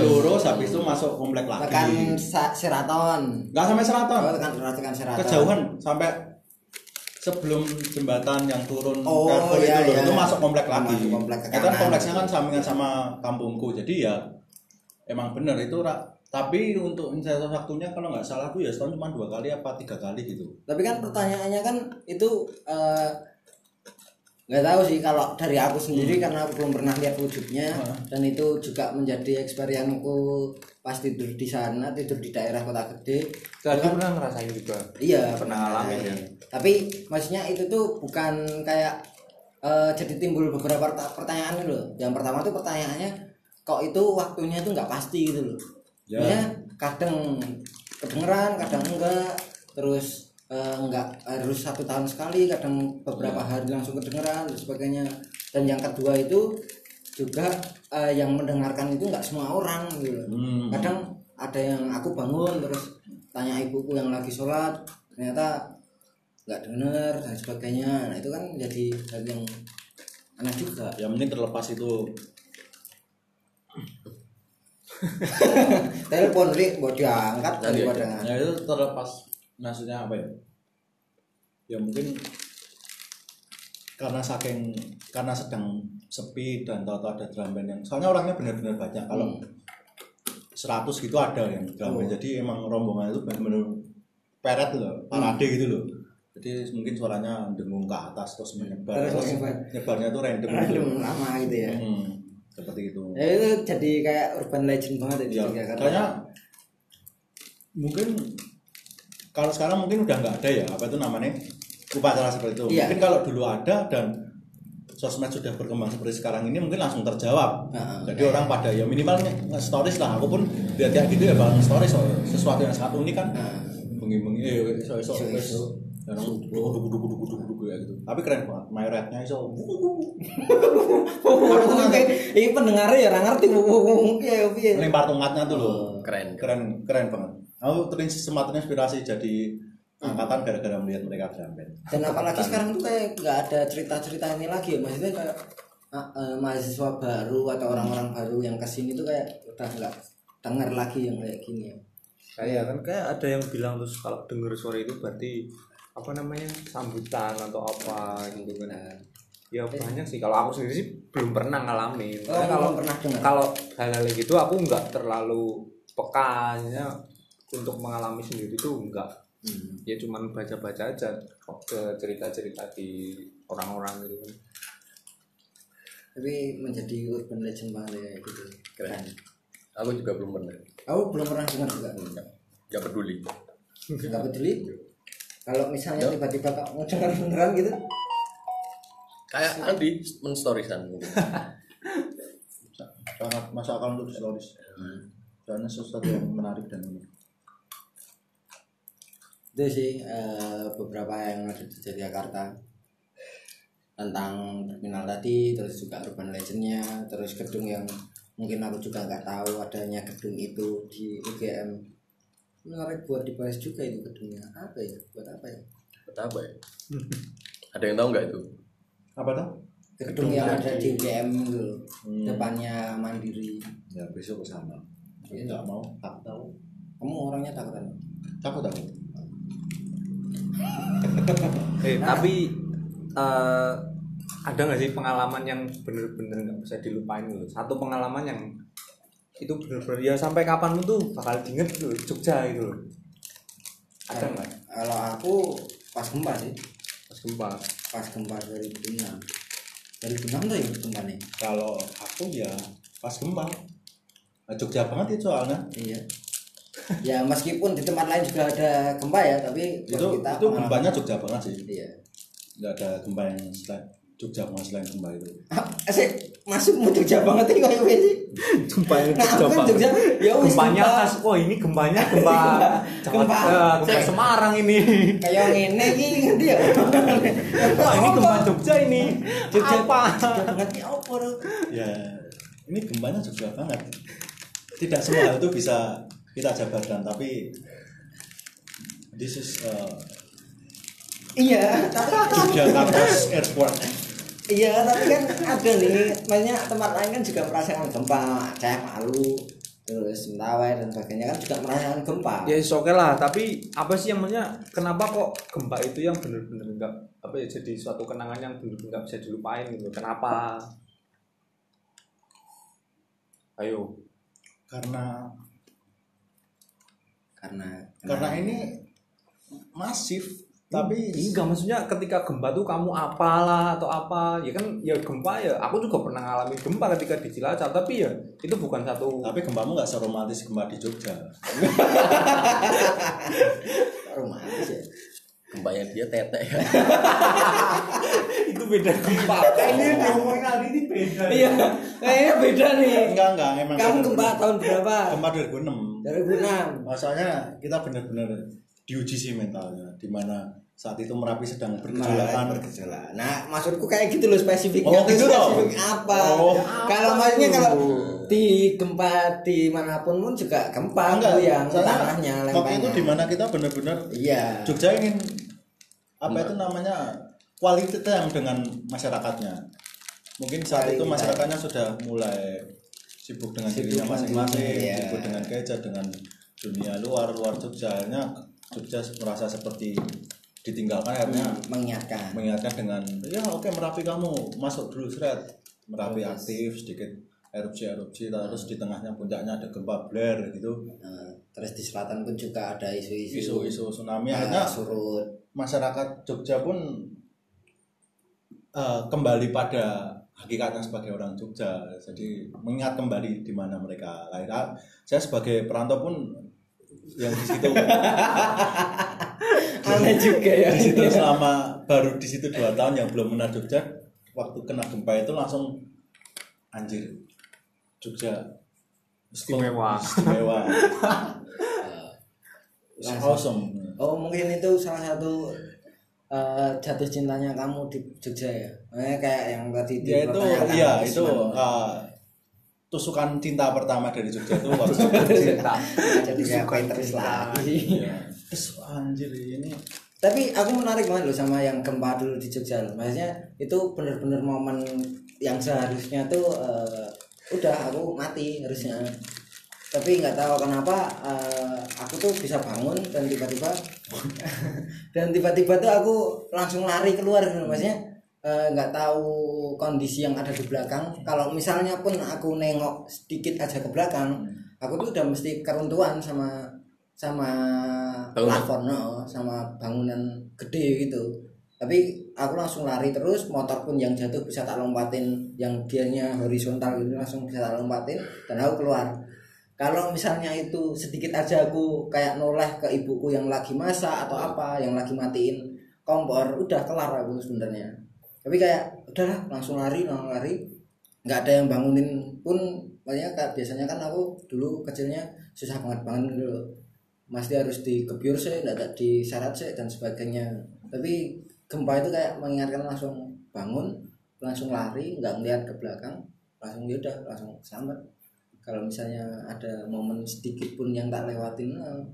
[SPEAKER 2] lurus.
[SPEAKER 4] lurus habis itu masuk komplek lagi
[SPEAKER 2] Tekan Sa- Sheraton.
[SPEAKER 4] nggak sampai seraton
[SPEAKER 2] Oh, tekan tekan Sheraton.
[SPEAKER 4] kejauhan sampai sebelum jembatan yang turun
[SPEAKER 2] Oh,
[SPEAKER 4] Carrefour
[SPEAKER 2] iya,
[SPEAKER 4] itu loh,
[SPEAKER 2] iya.
[SPEAKER 4] itu masuk komplek lagi.
[SPEAKER 2] Masuk komplek ke
[SPEAKER 4] Itu kan
[SPEAKER 2] kanan.
[SPEAKER 4] kompleksnya kan sampingan sama kampungku. Jadi ya emang bener itu Ra. Tapi untuk insentif waktunya kalau nggak salah tuh ya setahun cuma dua kali apa tiga kali gitu.
[SPEAKER 2] Tapi kan pertanyaannya kan itu eh, nggak tahu sih kalau dari aku sendiri karena aku belum pernah lihat wujudnya dan itu juga menjadi eksperienku pas tidur di sana tidur di daerah kota gede
[SPEAKER 1] Tadi pernah ngerasain juga.
[SPEAKER 2] iya
[SPEAKER 1] Pernah ngalamin ya.
[SPEAKER 2] ngalamin. tapi maksudnya itu tuh bukan kayak eh, jadi timbul beberapa perta- pertanyaan loh yang pertama tuh pertanyaannya kok itu waktunya tuh nggak pasti gitu loh
[SPEAKER 4] Ya.
[SPEAKER 2] ya kadang kedengeran kadang enggak terus eh, enggak harus satu tahun sekali kadang
[SPEAKER 1] Ya.
[SPEAKER 2] beberapa hari langsung kedengeran dan sebagainya dan yang kedua itu juga eh, yang mendengarkan itu nggak semua orang gitu loh
[SPEAKER 4] Hmm.
[SPEAKER 2] kadang ada yang aku bangun terus tanya ibuku yang lagi sholat ternyata nggak denger dan sebagainya nah itu kan jadi hal yang aneh juga
[SPEAKER 4] Ya mending terlepas itu
[SPEAKER 2] telepon ri buat diangkat
[SPEAKER 3] Nanti
[SPEAKER 2] daripada
[SPEAKER 4] ya itu terlepas maksudnya apa ya ya mungkin karena saking karena sedang sepi dan tahu-tahu ada drum band yang soalnya orangnya benar-benar banyak kalau 100 gitu ada yang drum band jadi emang rombongan itu benar-benar peret loh parade gitu loh jadi mungkin suaranya dengung ke atas terus menyebar
[SPEAKER 2] Terus
[SPEAKER 4] terus
[SPEAKER 2] menyebar.
[SPEAKER 4] nyebarnya tuh random gitu
[SPEAKER 2] Aduh, lama gitu ya
[SPEAKER 4] Hmm, seperti itu
[SPEAKER 2] ya itu jadi kayak urban legend banget ya di
[SPEAKER 4] ya
[SPEAKER 2] Jakarta
[SPEAKER 4] kayaknya mungkin kalau sekarang mungkin udah nggak ada ya apa itu namanya upacara seperti itu
[SPEAKER 2] Iya.
[SPEAKER 4] mungkin kalau dulu ada dan sosmed sudah berkembang seperti sekarang ini mungkin langsung terjawab
[SPEAKER 2] Heeh.
[SPEAKER 4] jadi orang pada ya minimal nge- nge-stories lah aku pun lihat kayak gitu ya bang stories sesuatu yang sangat unik kan
[SPEAKER 2] Heeh.
[SPEAKER 4] bengi-bengi eh iso iso
[SPEAKER 2] Iso-iso.
[SPEAKER 4] wes Ya, nang- dugu-dugu-dugu-dugu-dugu ya gitu tapi keren banget mayoritasnya iso
[SPEAKER 2] ini pendengarnya ya orang ngerti ya piye
[SPEAKER 4] lempar tongkatnya tuh loh
[SPEAKER 3] Hmm, keren
[SPEAKER 4] keren keren banget aku terinspirasi sempat terinspirasi jadi angkatan gara-gara melihat mereka drum band
[SPEAKER 2] dan apalagi sekarang tuh kayak nggak ada cerita-cerita ini lagi ya maksudnya kayak ah, eh, mahasiswa baru atau orang-orang baru yang kesini tuh kayak udah nggak denger lagi yang kayak gini ya
[SPEAKER 1] Kayak kan kayak ada yang bilang terus kalau denger suara itu berarti apa namanya sambutan atau apa gitu kan. Ya banyak sih kalau aku sendiri sih belum pernah ngalamin.
[SPEAKER 2] Oh,
[SPEAKER 1] Karena
[SPEAKER 2] belum
[SPEAKER 1] kalau
[SPEAKER 2] pernah dengar.
[SPEAKER 1] kalau hal-hal yang gitu aku nggak terlalu pekanya untuk mengalami sendiri tuh enggak ya cuman baca-baca aja ke cerita-cerita di orang-orang gitu kan
[SPEAKER 2] tapi menjadi urban legend banget ya gitu keren
[SPEAKER 3] aku juga belum pernah
[SPEAKER 2] aku belum pernah dengar juga
[SPEAKER 3] nggak peduli
[SPEAKER 2] nggak peduli kalau misalnya tiba-tiba kamu dengar beneran gitu
[SPEAKER 3] kayak Andi menstoriesan mungkin
[SPEAKER 4] sangat masuk akal untuk stories
[SPEAKER 3] Hmm.
[SPEAKER 4] karena sesuatu yang menarik dan unik
[SPEAKER 2] itu sih eh, beberapa yang ada di Yogyakarta tentang terminal tadi terus juga urban legendnya terus gedung yang mungkin aku juga nggak tahu adanya gedung itu di UGM menarik buat dibahas juga itu gedungnya apa ya buat apa ya
[SPEAKER 3] apa ya ada yang tahu nggak itu
[SPEAKER 4] apa tuh
[SPEAKER 2] gedung, yang ada di UGM itu
[SPEAKER 3] Hmm.
[SPEAKER 4] Hmm.
[SPEAKER 2] depannya mandiri
[SPEAKER 4] ya besok ke sana Tapi nggak mau tak tahu
[SPEAKER 2] kamu orangnya takutan
[SPEAKER 4] takut aku
[SPEAKER 1] eh tapi eh, ada nggak sih pengalaman yang bener-bener nggak bisa dilupain gitu satu pengalaman yang itu bener-bener ya sampai kapan lu tuh bakal diinget gitu Jogja gitu loh ada nggak
[SPEAKER 2] kalau aku pas gempa sih
[SPEAKER 1] pas gempa
[SPEAKER 2] pas gempa 2006 2006 tuh ya gempa nih
[SPEAKER 4] kalau aku ya pas gempa Nah, Jogja banget itu soalnya
[SPEAKER 2] Iya. ya meskipun di tempat lain juga ada gempa ya, tapi buat
[SPEAKER 4] itu
[SPEAKER 2] kita
[SPEAKER 4] itu
[SPEAKER 2] pengalaman-
[SPEAKER 4] gempanya Jogja banget sih
[SPEAKER 2] Iya. *laughs*
[SPEAKER 4] nggak ada gempa yang selain- Jogja Mas lain sembah itu.
[SPEAKER 2] Asik, Eh, masuk mau Jogja banget iki koyo kowe sih.
[SPEAKER 1] Gempa yang
[SPEAKER 2] Nah, aku kan Jogja. Ya wis.
[SPEAKER 1] Gempanya
[SPEAKER 2] gempa. Iya.
[SPEAKER 1] khas. Wah, ini gempanya gempa. Jawa-
[SPEAKER 2] Gempa.
[SPEAKER 1] eh, gempa Semarang ini.
[SPEAKER 2] Kayak ngene iki ngerti ya.
[SPEAKER 1] Wah, ini gempa Jogja ini.
[SPEAKER 2] Jogja
[SPEAKER 1] Apa?
[SPEAKER 2] Jogja banget iki opo Ruk?
[SPEAKER 4] Ya, ini gempanya Jogja banget. Tidak semua hal itu bisa kita jabarkan, tapi this is uh,
[SPEAKER 2] Iya, tapi
[SPEAKER 4] Yogyakarta's airport.
[SPEAKER 2] Iya, tapi kan ada nih, maksudnya tempat lain kan juga merasakan gempa, Aceh, Palu, terus Mentawai dan sebagainya kan juga merasakan gempa.
[SPEAKER 1] Ya is oke lah, tapi apa sih yang maksudnya kenapa kok gempa itu yang bener-bener enggak apa ya jadi suatu kenangan yang bener-bener nggak bisa dilupain gitu. Kenapa? Ayo.
[SPEAKER 4] Karena
[SPEAKER 2] Karena
[SPEAKER 4] karena ini masif, tapi
[SPEAKER 1] enggak maksudnya ketika gempa tuh kamu apalah atau apa ya kan ya gempa ya aku juga pernah ngalamin gempa ketika di Cilacap tapi ya itu bukan
[SPEAKER 2] Hmm.
[SPEAKER 1] satu
[SPEAKER 4] tapi gempamu nggak seromantis gempa di Jogja.
[SPEAKER 2] kok romantis ya.
[SPEAKER 3] Gempanya dia tete ya.
[SPEAKER 1] itu beda gempa
[SPEAKER 2] Kayaknya yang
[SPEAKER 1] diomongin kali ini beda
[SPEAKER 2] Iya, kayaknya beda nih.
[SPEAKER 4] Enggak enggak emang
[SPEAKER 2] Kamu gempa tahun berapa?
[SPEAKER 4] gempa 2006.
[SPEAKER 2] Dari 2006.
[SPEAKER 4] Masalahnya kita benar-benar diuji sih mentalnya di mana saat itu Merapi sedang
[SPEAKER 2] Malah
[SPEAKER 4] bergejolakan.
[SPEAKER 2] bergejolak. Nah, maksudku kayak gitu loh spesifiknya.
[SPEAKER 4] Oh, gitu
[SPEAKER 2] Terus
[SPEAKER 4] dong.
[SPEAKER 2] spesifik apa? Ya
[SPEAKER 4] Oh.
[SPEAKER 2] Kalau maksudnya
[SPEAKER 1] itu?
[SPEAKER 2] kalau di gempa dimanapun pun juga gempa
[SPEAKER 4] Oh, Enggak,
[SPEAKER 2] tuh yang
[SPEAKER 4] soalnya
[SPEAKER 2] ya, tanahnya
[SPEAKER 4] Waktu itu
[SPEAKER 2] lempengnya.
[SPEAKER 4] di mana kita benar-benar
[SPEAKER 2] Iya.
[SPEAKER 4] Jogja ingin apa itu namanya kualitasnya yang dengan masyarakatnya. Mungkin saat itu
[SPEAKER 2] Kualitas.
[SPEAKER 4] masyarakatnya sudah mulai sibuk dengan
[SPEAKER 2] Sibuk
[SPEAKER 4] dirinya
[SPEAKER 2] dengan
[SPEAKER 4] masing-masing,
[SPEAKER 2] dirinya, iya.
[SPEAKER 4] sibuk dengan gadget, dengan dunia luar luar Jogja. Akhirnya Jogja merasa seperti ditinggalkan akhirnya
[SPEAKER 2] Hmm. mengingatkan.
[SPEAKER 4] mengingatkan dengan ya oke merapi kamu masuk dulu seret merapi aktif sedikit erupsi erupsi terus di tengahnya puncaknya ada gempa Blair gitu
[SPEAKER 2] Nah, terus di selatan pun juga ada isu-isu
[SPEAKER 4] isu isu tsunami
[SPEAKER 2] Nah,
[SPEAKER 4] akhirnya
[SPEAKER 2] surut
[SPEAKER 4] masyarakat Jogja pun eh, kembali pada hakikatnya sebagai orang Jogja jadi mengingat kembali di mana mereka lahir Ah, saya sebagai perantau pun yang di
[SPEAKER 2] *laughs*
[SPEAKER 4] situ
[SPEAKER 2] aneh juga ya
[SPEAKER 4] di situ selama baru di situ dua tahun yang belum pernah Jogja waktu kena gempa itu langsung anjir Jogja
[SPEAKER 1] Istimewa.
[SPEAKER 4] istimewa
[SPEAKER 2] *laughs*
[SPEAKER 4] It's
[SPEAKER 2] Langsung.
[SPEAKER 4] awesome
[SPEAKER 2] oh mungkin itu salah satu eh, jatuh cintanya kamu di Jogja ya Makanya kayak yang tadi di
[SPEAKER 4] ya itu
[SPEAKER 2] pertanyaan
[SPEAKER 4] iya
[SPEAKER 2] Usman.
[SPEAKER 4] itu ah, tusukan cinta pertama dari Jogja itu waktu
[SPEAKER 1] cinta
[SPEAKER 2] jadi kayak terus lagi
[SPEAKER 4] Iya. terus anjir ini
[SPEAKER 2] tapi aku menarik banget loh sama yang gempa dulu di Jogja loh. maksudnya itu bener-bener momen yang seharusnya tuh eh, udah aku mati harusnya tapi nggak tahu kenapa eh, aku tuh bisa bangun dan tiba-tiba *laughs* dan tiba-tiba tuh aku langsung lari keluar gitu loh. maksudnya eh, nggak tahu kondisi yang ada di belakang kalau misalnya pun aku nengok sedikit aja ke belakang aku tuh udah mesti keruntuhan sama sama
[SPEAKER 3] Tahu nggak?
[SPEAKER 2] plafon no, sama bangunan gede gitu tapi aku langsung lari terus motor pun yang jatuh bisa tak lompatin yang dianya horizontal gitu langsung bisa tak lompatin dan aku keluar kalau misalnya itu sedikit aja aku kayak noleh ke ibuku yang lagi masak atau apa yang lagi matiin kompor udah kelar aku sebenarnya tapi kayak udahlah langsung lari langsung lari nggak ada yang bangunin pun makanya kayak biasanya kan aku dulu kecilnya susah banget bangun gitu dulu masih harus dikebur sih nggak ada diseret sih dan sebagainya tapi gempa itu kayak mengingatkan langsung bangun langsung lari nggak ngeliat ke belakang langsung ya udah langsung selamat kalau misalnya ada momen sedikit pun yang tak lewatin eh,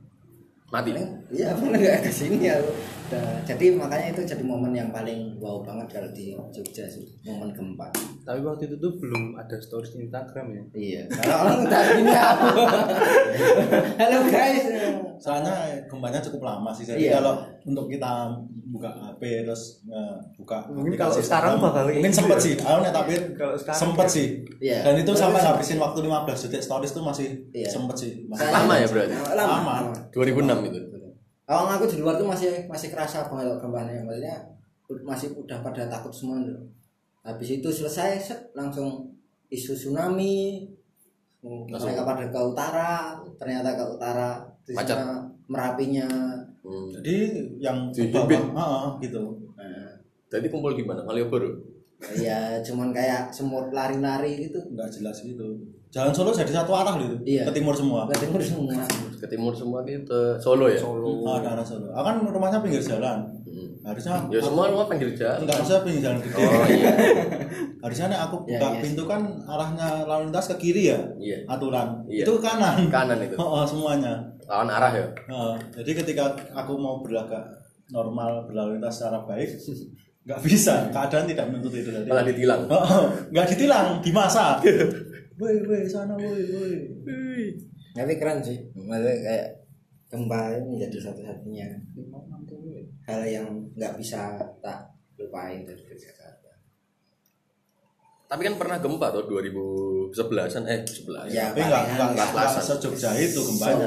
[SPEAKER 3] Mati.
[SPEAKER 2] paling iya *laughs* paling nggak kesini aku Dah, jadi makanya itu jadi momen yang paling wow banget kalau di Jogja sih momen gempa
[SPEAKER 1] tapi waktu itu tuh belum ada stories Instagram ya
[SPEAKER 2] iya kalau orang udah gini apa halo guys
[SPEAKER 4] soalnya gempanya cukup lama sih jadi
[SPEAKER 2] Iya.
[SPEAKER 4] kalau untuk kita buka HP terus eh, buka
[SPEAKER 1] Mungkin
[SPEAKER 4] aplikasi
[SPEAKER 1] kalau sekarang
[SPEAKER 4] Instagram,
[SPEAKER 1] bakal
[SPEAKER 4] mungkin
[SPEAKER 1] gitu
[SPEAKER 4] sempet
[SPEAKER 1] ya.
[SPEAKER 4] sih aku nih tapi
[SPEAKER 1] Kalau sekarang
[SPEAKER 4] sempet
[SPEAKER 1] ya.
[SPEAKER 4] sih
[SPEAKER 2] Iya.
[SPEAKER 4] dan itu
[SPEAKER 2] Tapi
[SPEAKER 4] sampai
[SPEAKER 2] sempet.
[SPEAKER 4] ngabisin waktu 15 detik stories tuh masih
[SPEAKER 2] Iya.
[SPEAKER 4] sempet sih masih
[SPEAKER 2] Saya-
[SPEAKER 3] Lama ya berarti?
[SPEAKER 2] lama,
[SPEAKER 4] Lama.
[SPEAKER 3] 2006 itu.
[SPEAKER 2] awal aku di luar tuh masih masih kerasa banget kalau gempanya maksudnya masih udah pada takut semua tuh habis itu selesai set, langsung isu tsunami mereka pada ke utara ternyata ke utara di
[SPEAKER 3] Macet.
[SPEAKER 2] sana merapinya
[SPEAKER 3] Hmm.
[SPEAKER 4] jadi yang ke
[SPEAKER 3] Di
[SPEAKER 4] bawah,
[SPEAKER 3] bibit.
[SPEAKER 4] ah, ah, gitu
[SPEAKER 2] nah,
[SPEAKER 3] Jadi kumpul di mana? Malioboro.
[SPEAKER 2] ya cuman kayak semut lari-lari gitu
[SPEAKER 4] nggak jelas gitu jalan Solo jadi satu arah loh itu
[SPEAKER 2] Iya.
[SPEAKER 4] ke timur semua
[SPEAKER 2] nggak timur semua
[SPEAKER 3] ke timur semua gitu Solo ya
[SPEAKER 1] Solo
[SPEAKER 4] Ah, ke arah Solo ah, kan rumahnya pinggir jalan
[SPEAKER 3] Hmm.
[SPEAKER 4] harusnya
[SPEAKER 3] ya semua rumah pinggir jalan
[SPEAKER 4] nggak usah pinggir jalan gede
[SPEAKER 3] oh iya
[SPEAKER 4] harusnya nih aku buka
[SPEAKER 2] Ya, iya sih.
[SPEAKER 4] pintu kan arahnya lalu lintas ke kiri ya
[SPEAKER 3] Iya.
[SPEAKER 4] aturan
[SPEAKER 3] Iya.
[SPEAKER 4] itu ke kanan
[SPEAKER 3] kanan itu
[SPEAKER 4] Oh, oh, semuanya
[SPEAKER 3] lawan arah ya
[SPEAKER 4] Nah, jadi ketika aku mau berlagak normal berlalu lintas secara baik *laughs* nggak bisa keadaan tidak menuntut itu tadi
[SPEAKER 3] malah ditilang
[SPEAKER 4] Oh, oh, nggak ditilang dimasa *laughs* woi woi sana woi woi
[SPEAKER 2] tapi keren sih maksudnya kayak gempa ini jadi satu-satunya hal yang nggak bisa tak lupain dari Jakarta
[SPEAKER 3] tapi kan pernah gempa tuh 2011an eh 11
[SPEAKER 2] ya
[SPEAKER 4] tapi nggak
[SPEAKER 2] palingan
[SPEAKER 4] nggak nggak nggak
[SPEAKER 3] Belasan.
[SPEAKER 4] sejogja itu
[SPEAKER 2] Wow.
[SPEAKER 4] gempanya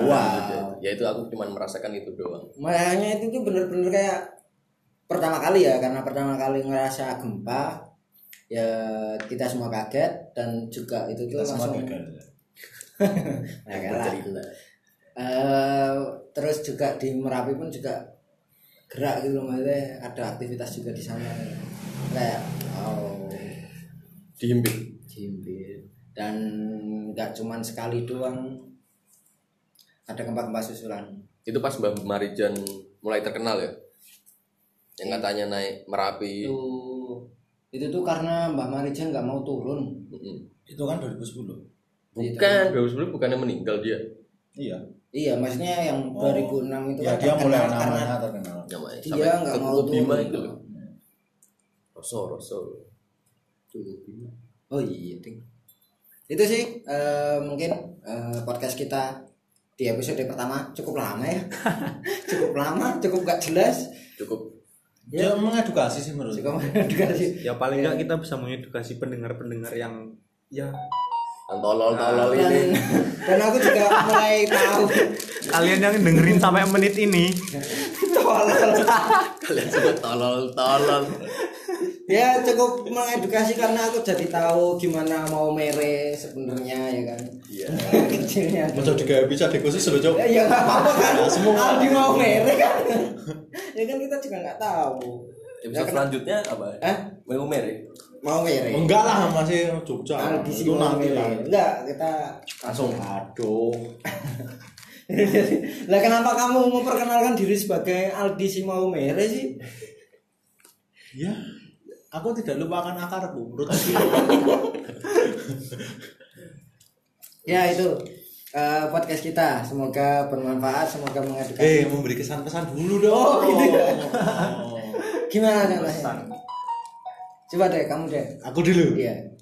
[SPEAKER 3] ya itu aku cuma merasakan itu doang
[SPEAKER 2] makanya itu tuh bener-bener kayak pertama kali ya karena pertama kali ngerasa gempa ya kita semua kaget dan juga itu tuh
[SPEAKER 4] kita semua
[SPEAKER 2] langsung ya,
[SPEAKER 4] gagal
[SPEAKER 2] Nah, kalah.
[SPEAKER 3] Bercerita.
[SPEAKER 2] Eh, terus juga di Merapi pun juga gerak gitu loh maksudnya ada aktivitas juga di sana kayak oh
[SPEAKER 3] dihimpit
[SPEAKER 2] jimbit dan nggak cuman sekali doang ada gempa-gempa susulan
[SPEAKER 3] itu pas Mbak Marijan mulai terkenal ya yang katanya naik
[SPEAKER 4] Iya.
[SPEAKER 3] merapi
[SPEAKER 2] itu itu tuh karena Mbah Marijan nggak mau turun
[SPEAKER 3] Mm-mm.
[SPEAKER 4] itu kan 2010
[SPEAKER 3] Iya, bukan 2010 bukannya meninggal dia
[SPEAKER 4] iya
[SPEAKER 2] iya maksudnya yang
[SPEAKER 4] Oh.
[SPEAKER 2] 2006 itu
[SPEAKER 4] ya
[SPEAKER 2] kan
[SPEAKER 4] dia
[SPEAKER 2] terkenal
[SPEAKER 4] mulai
[SPEAKER 2] karena
[SPEAKER 4] namanya terkenal
[SPEAKER 3] namanya
[SPEAKER 2] dia nggak
[SPEAKER 3] ke
[SPEAKER 2] mau
[SPEAKER 3] Kuku Bima
[SPEAKER 2] turun
[SPEAKER 3] itu loh. Rosso Rosso Kuku Bima.
[SPEAKER 2] Oh iya, Ding. Itu sih eh, mungkin eh, podcast kita di episode pertama cukup lama ya. *laughs* cukup lama, cukup gak jelas.
[SPEAKER 3] cukup
[SPEAKER 4] dia mengedukasi sih menurut
[SPEAKER 2] Cukup edukasi.
[SPEAKER 1] ya paling nggak kita bisa mengedukasi pendengar-pendengar yang ya
[SPEAKER 3] tolol tolol
[SPEAKER 2] Dan,
[SPEAKER 3] ini
[SPEAKER 2] dan aku juga mulai
[SPEAKER 4] *laughs*
[SPEAKER 2] tahu
[SPEAKER 1] kalian yang dengerin sampai menit ini
[SPEAKER 2] tolol.
[SPEAKER 3] *laughs* kalian semua tolol tolol
[SPEAKER 2] Ya cukup mengedukasi karena aku jadi tahu gimana mau mere sebenarnya ya kan.
[SPEAKER 3] Iya.
[SPEAKER 2] *laughs* Kecilnya.
[SPEAKER 4] Masa juga bisa dikhusus loh cok
[SPEAKER 2] Ya, ya nggak apa-apa kan.
[SPEAKER 4] semua. gitu.
[SPEAKER 2] Aldi mau mere kan. ya kan kita juga nggak tahu.
[SPEAKER 3] episode selanjutnya apa ya?
[SPEAKER 2] Hah?
[SPEAKER 3] mau mere
[SPEAKER 2] Mau mere.
[SPEAKER 4] Oh, enggak lah masih Jogja
[SPEAKER 2] Aldi sih
[SPEAKER 4] itu nanti lah
[SPEAKER 2] Enggak, kita *laughs*
[SPEAKER 4] langsung aduh
[SPEAKER 2] lah kenapa kamu memperkenalkan diri sebagai Aldi Simaumere sih?
[SPEAKER 4] Ya, aku tidak lupakan akarku menurut aku.
[SPEAKER 2] Ya itu eh, podcast kita. Semoga bermanfaat, semoga mengedukasi.
[SPEAKER 4] *laughs* eh, memberi kesan-pesan dulu dong.
[SPEAKER 2] Oh, gitu ya.
[SPEAKER 4] Oh.
[SPEAKER 2] Gimana contohnya? Coba deh kamu deh.
[SPEAKER 4] Aku dulu.
[SPEAKER 2] Iya.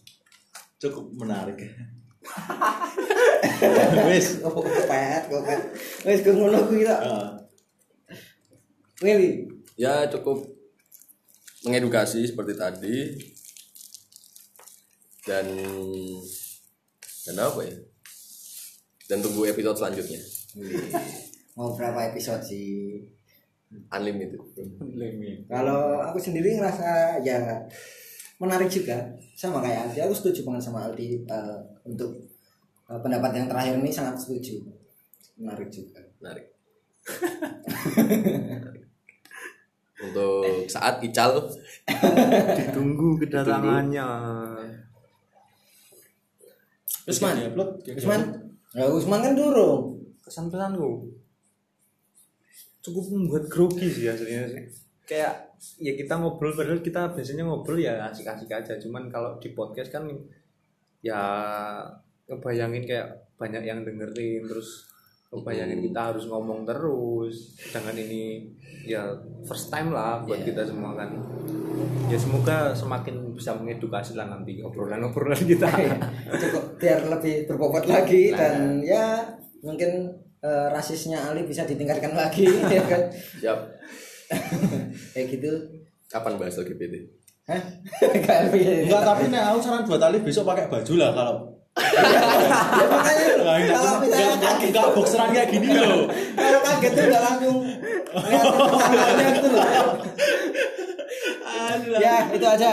[SPEAKER 4] Cukup *laughs* menarik. Wes.
[SPEAKER 2] Oh, kepet, kepet. Wes gue ngono kuwi tok.
[SPEAKER 4] Eh,
[SPEAKER 2] Willy.
[SPEAKER 3] ya cukup mengedukasi seperti tadi dan dan apa ya dan tunggu episode selanjutnya
[SPEAKER 2] Mau berapa episode sih?
[SPEAKER 3] unlimited
[SPEAKER 2] Kalau aku sendiri ngerasa ya menarik juga sama kayak Aldi. Aku setuju banget sama Aldi eh, untuk eh, pendapat yang terakhir ini sangat setuju. Menarik juga.
[SPEAKER 3] menarik untuk saat ical
[SPEAKER 1] ditunggu kedatangannya
[SPEAKER 2] Usman,
[SPEAKER 4] diupload, dia
[SPEAKER 2] Usman, ya, Usman kan durung.
[SPEAKER 1] kesan pesanku cukup membuat grogi sih aslinya sih kayak ya kita ngobrol padahal kita biasanya ngobrol ya asik-asik aja cuman kalau di podcast kan ya ngebayangin kayak banyak yang dengerin terus ngebayangin kita harus ngomong terus sedangkan ini ya first time lah buat kita semua kan ya semoga semakin bisa mengedukasi lah nanti obrolan-obrolan kita *laughs*
[SPEAKER 2] Cukup biar lebih berbobot lagi dan ya mungkin eh, rasisnya Ali bisa ditingkatkan lagi *laughs* ya kan.
[SPEAKER 3] siap
[SPEAKER 2] Kayak gitu.
[SPEAKER 3] kapan bahas LGBT
[SPEAKER 2] Hah? *laughs* Kayak gitu.
[SPEAKER 4] Enggak, tapi nih aku saran buat Ali besok pakai baju lah kalau
[SPEAKER 2] Ya, makanya
[SPEAKER 4] Nah, enggak-
[SPEAKER 2] kalau
[SPEAKER 4] enggak
[SPEAKER 2] misalnya
[SPEAKER 4] enggak- enggak boxeran kayak gini loh.
[SPEAKER 2] kalau kaget tuh udah langsung lihat tetangganya gitu loh. ya itu aja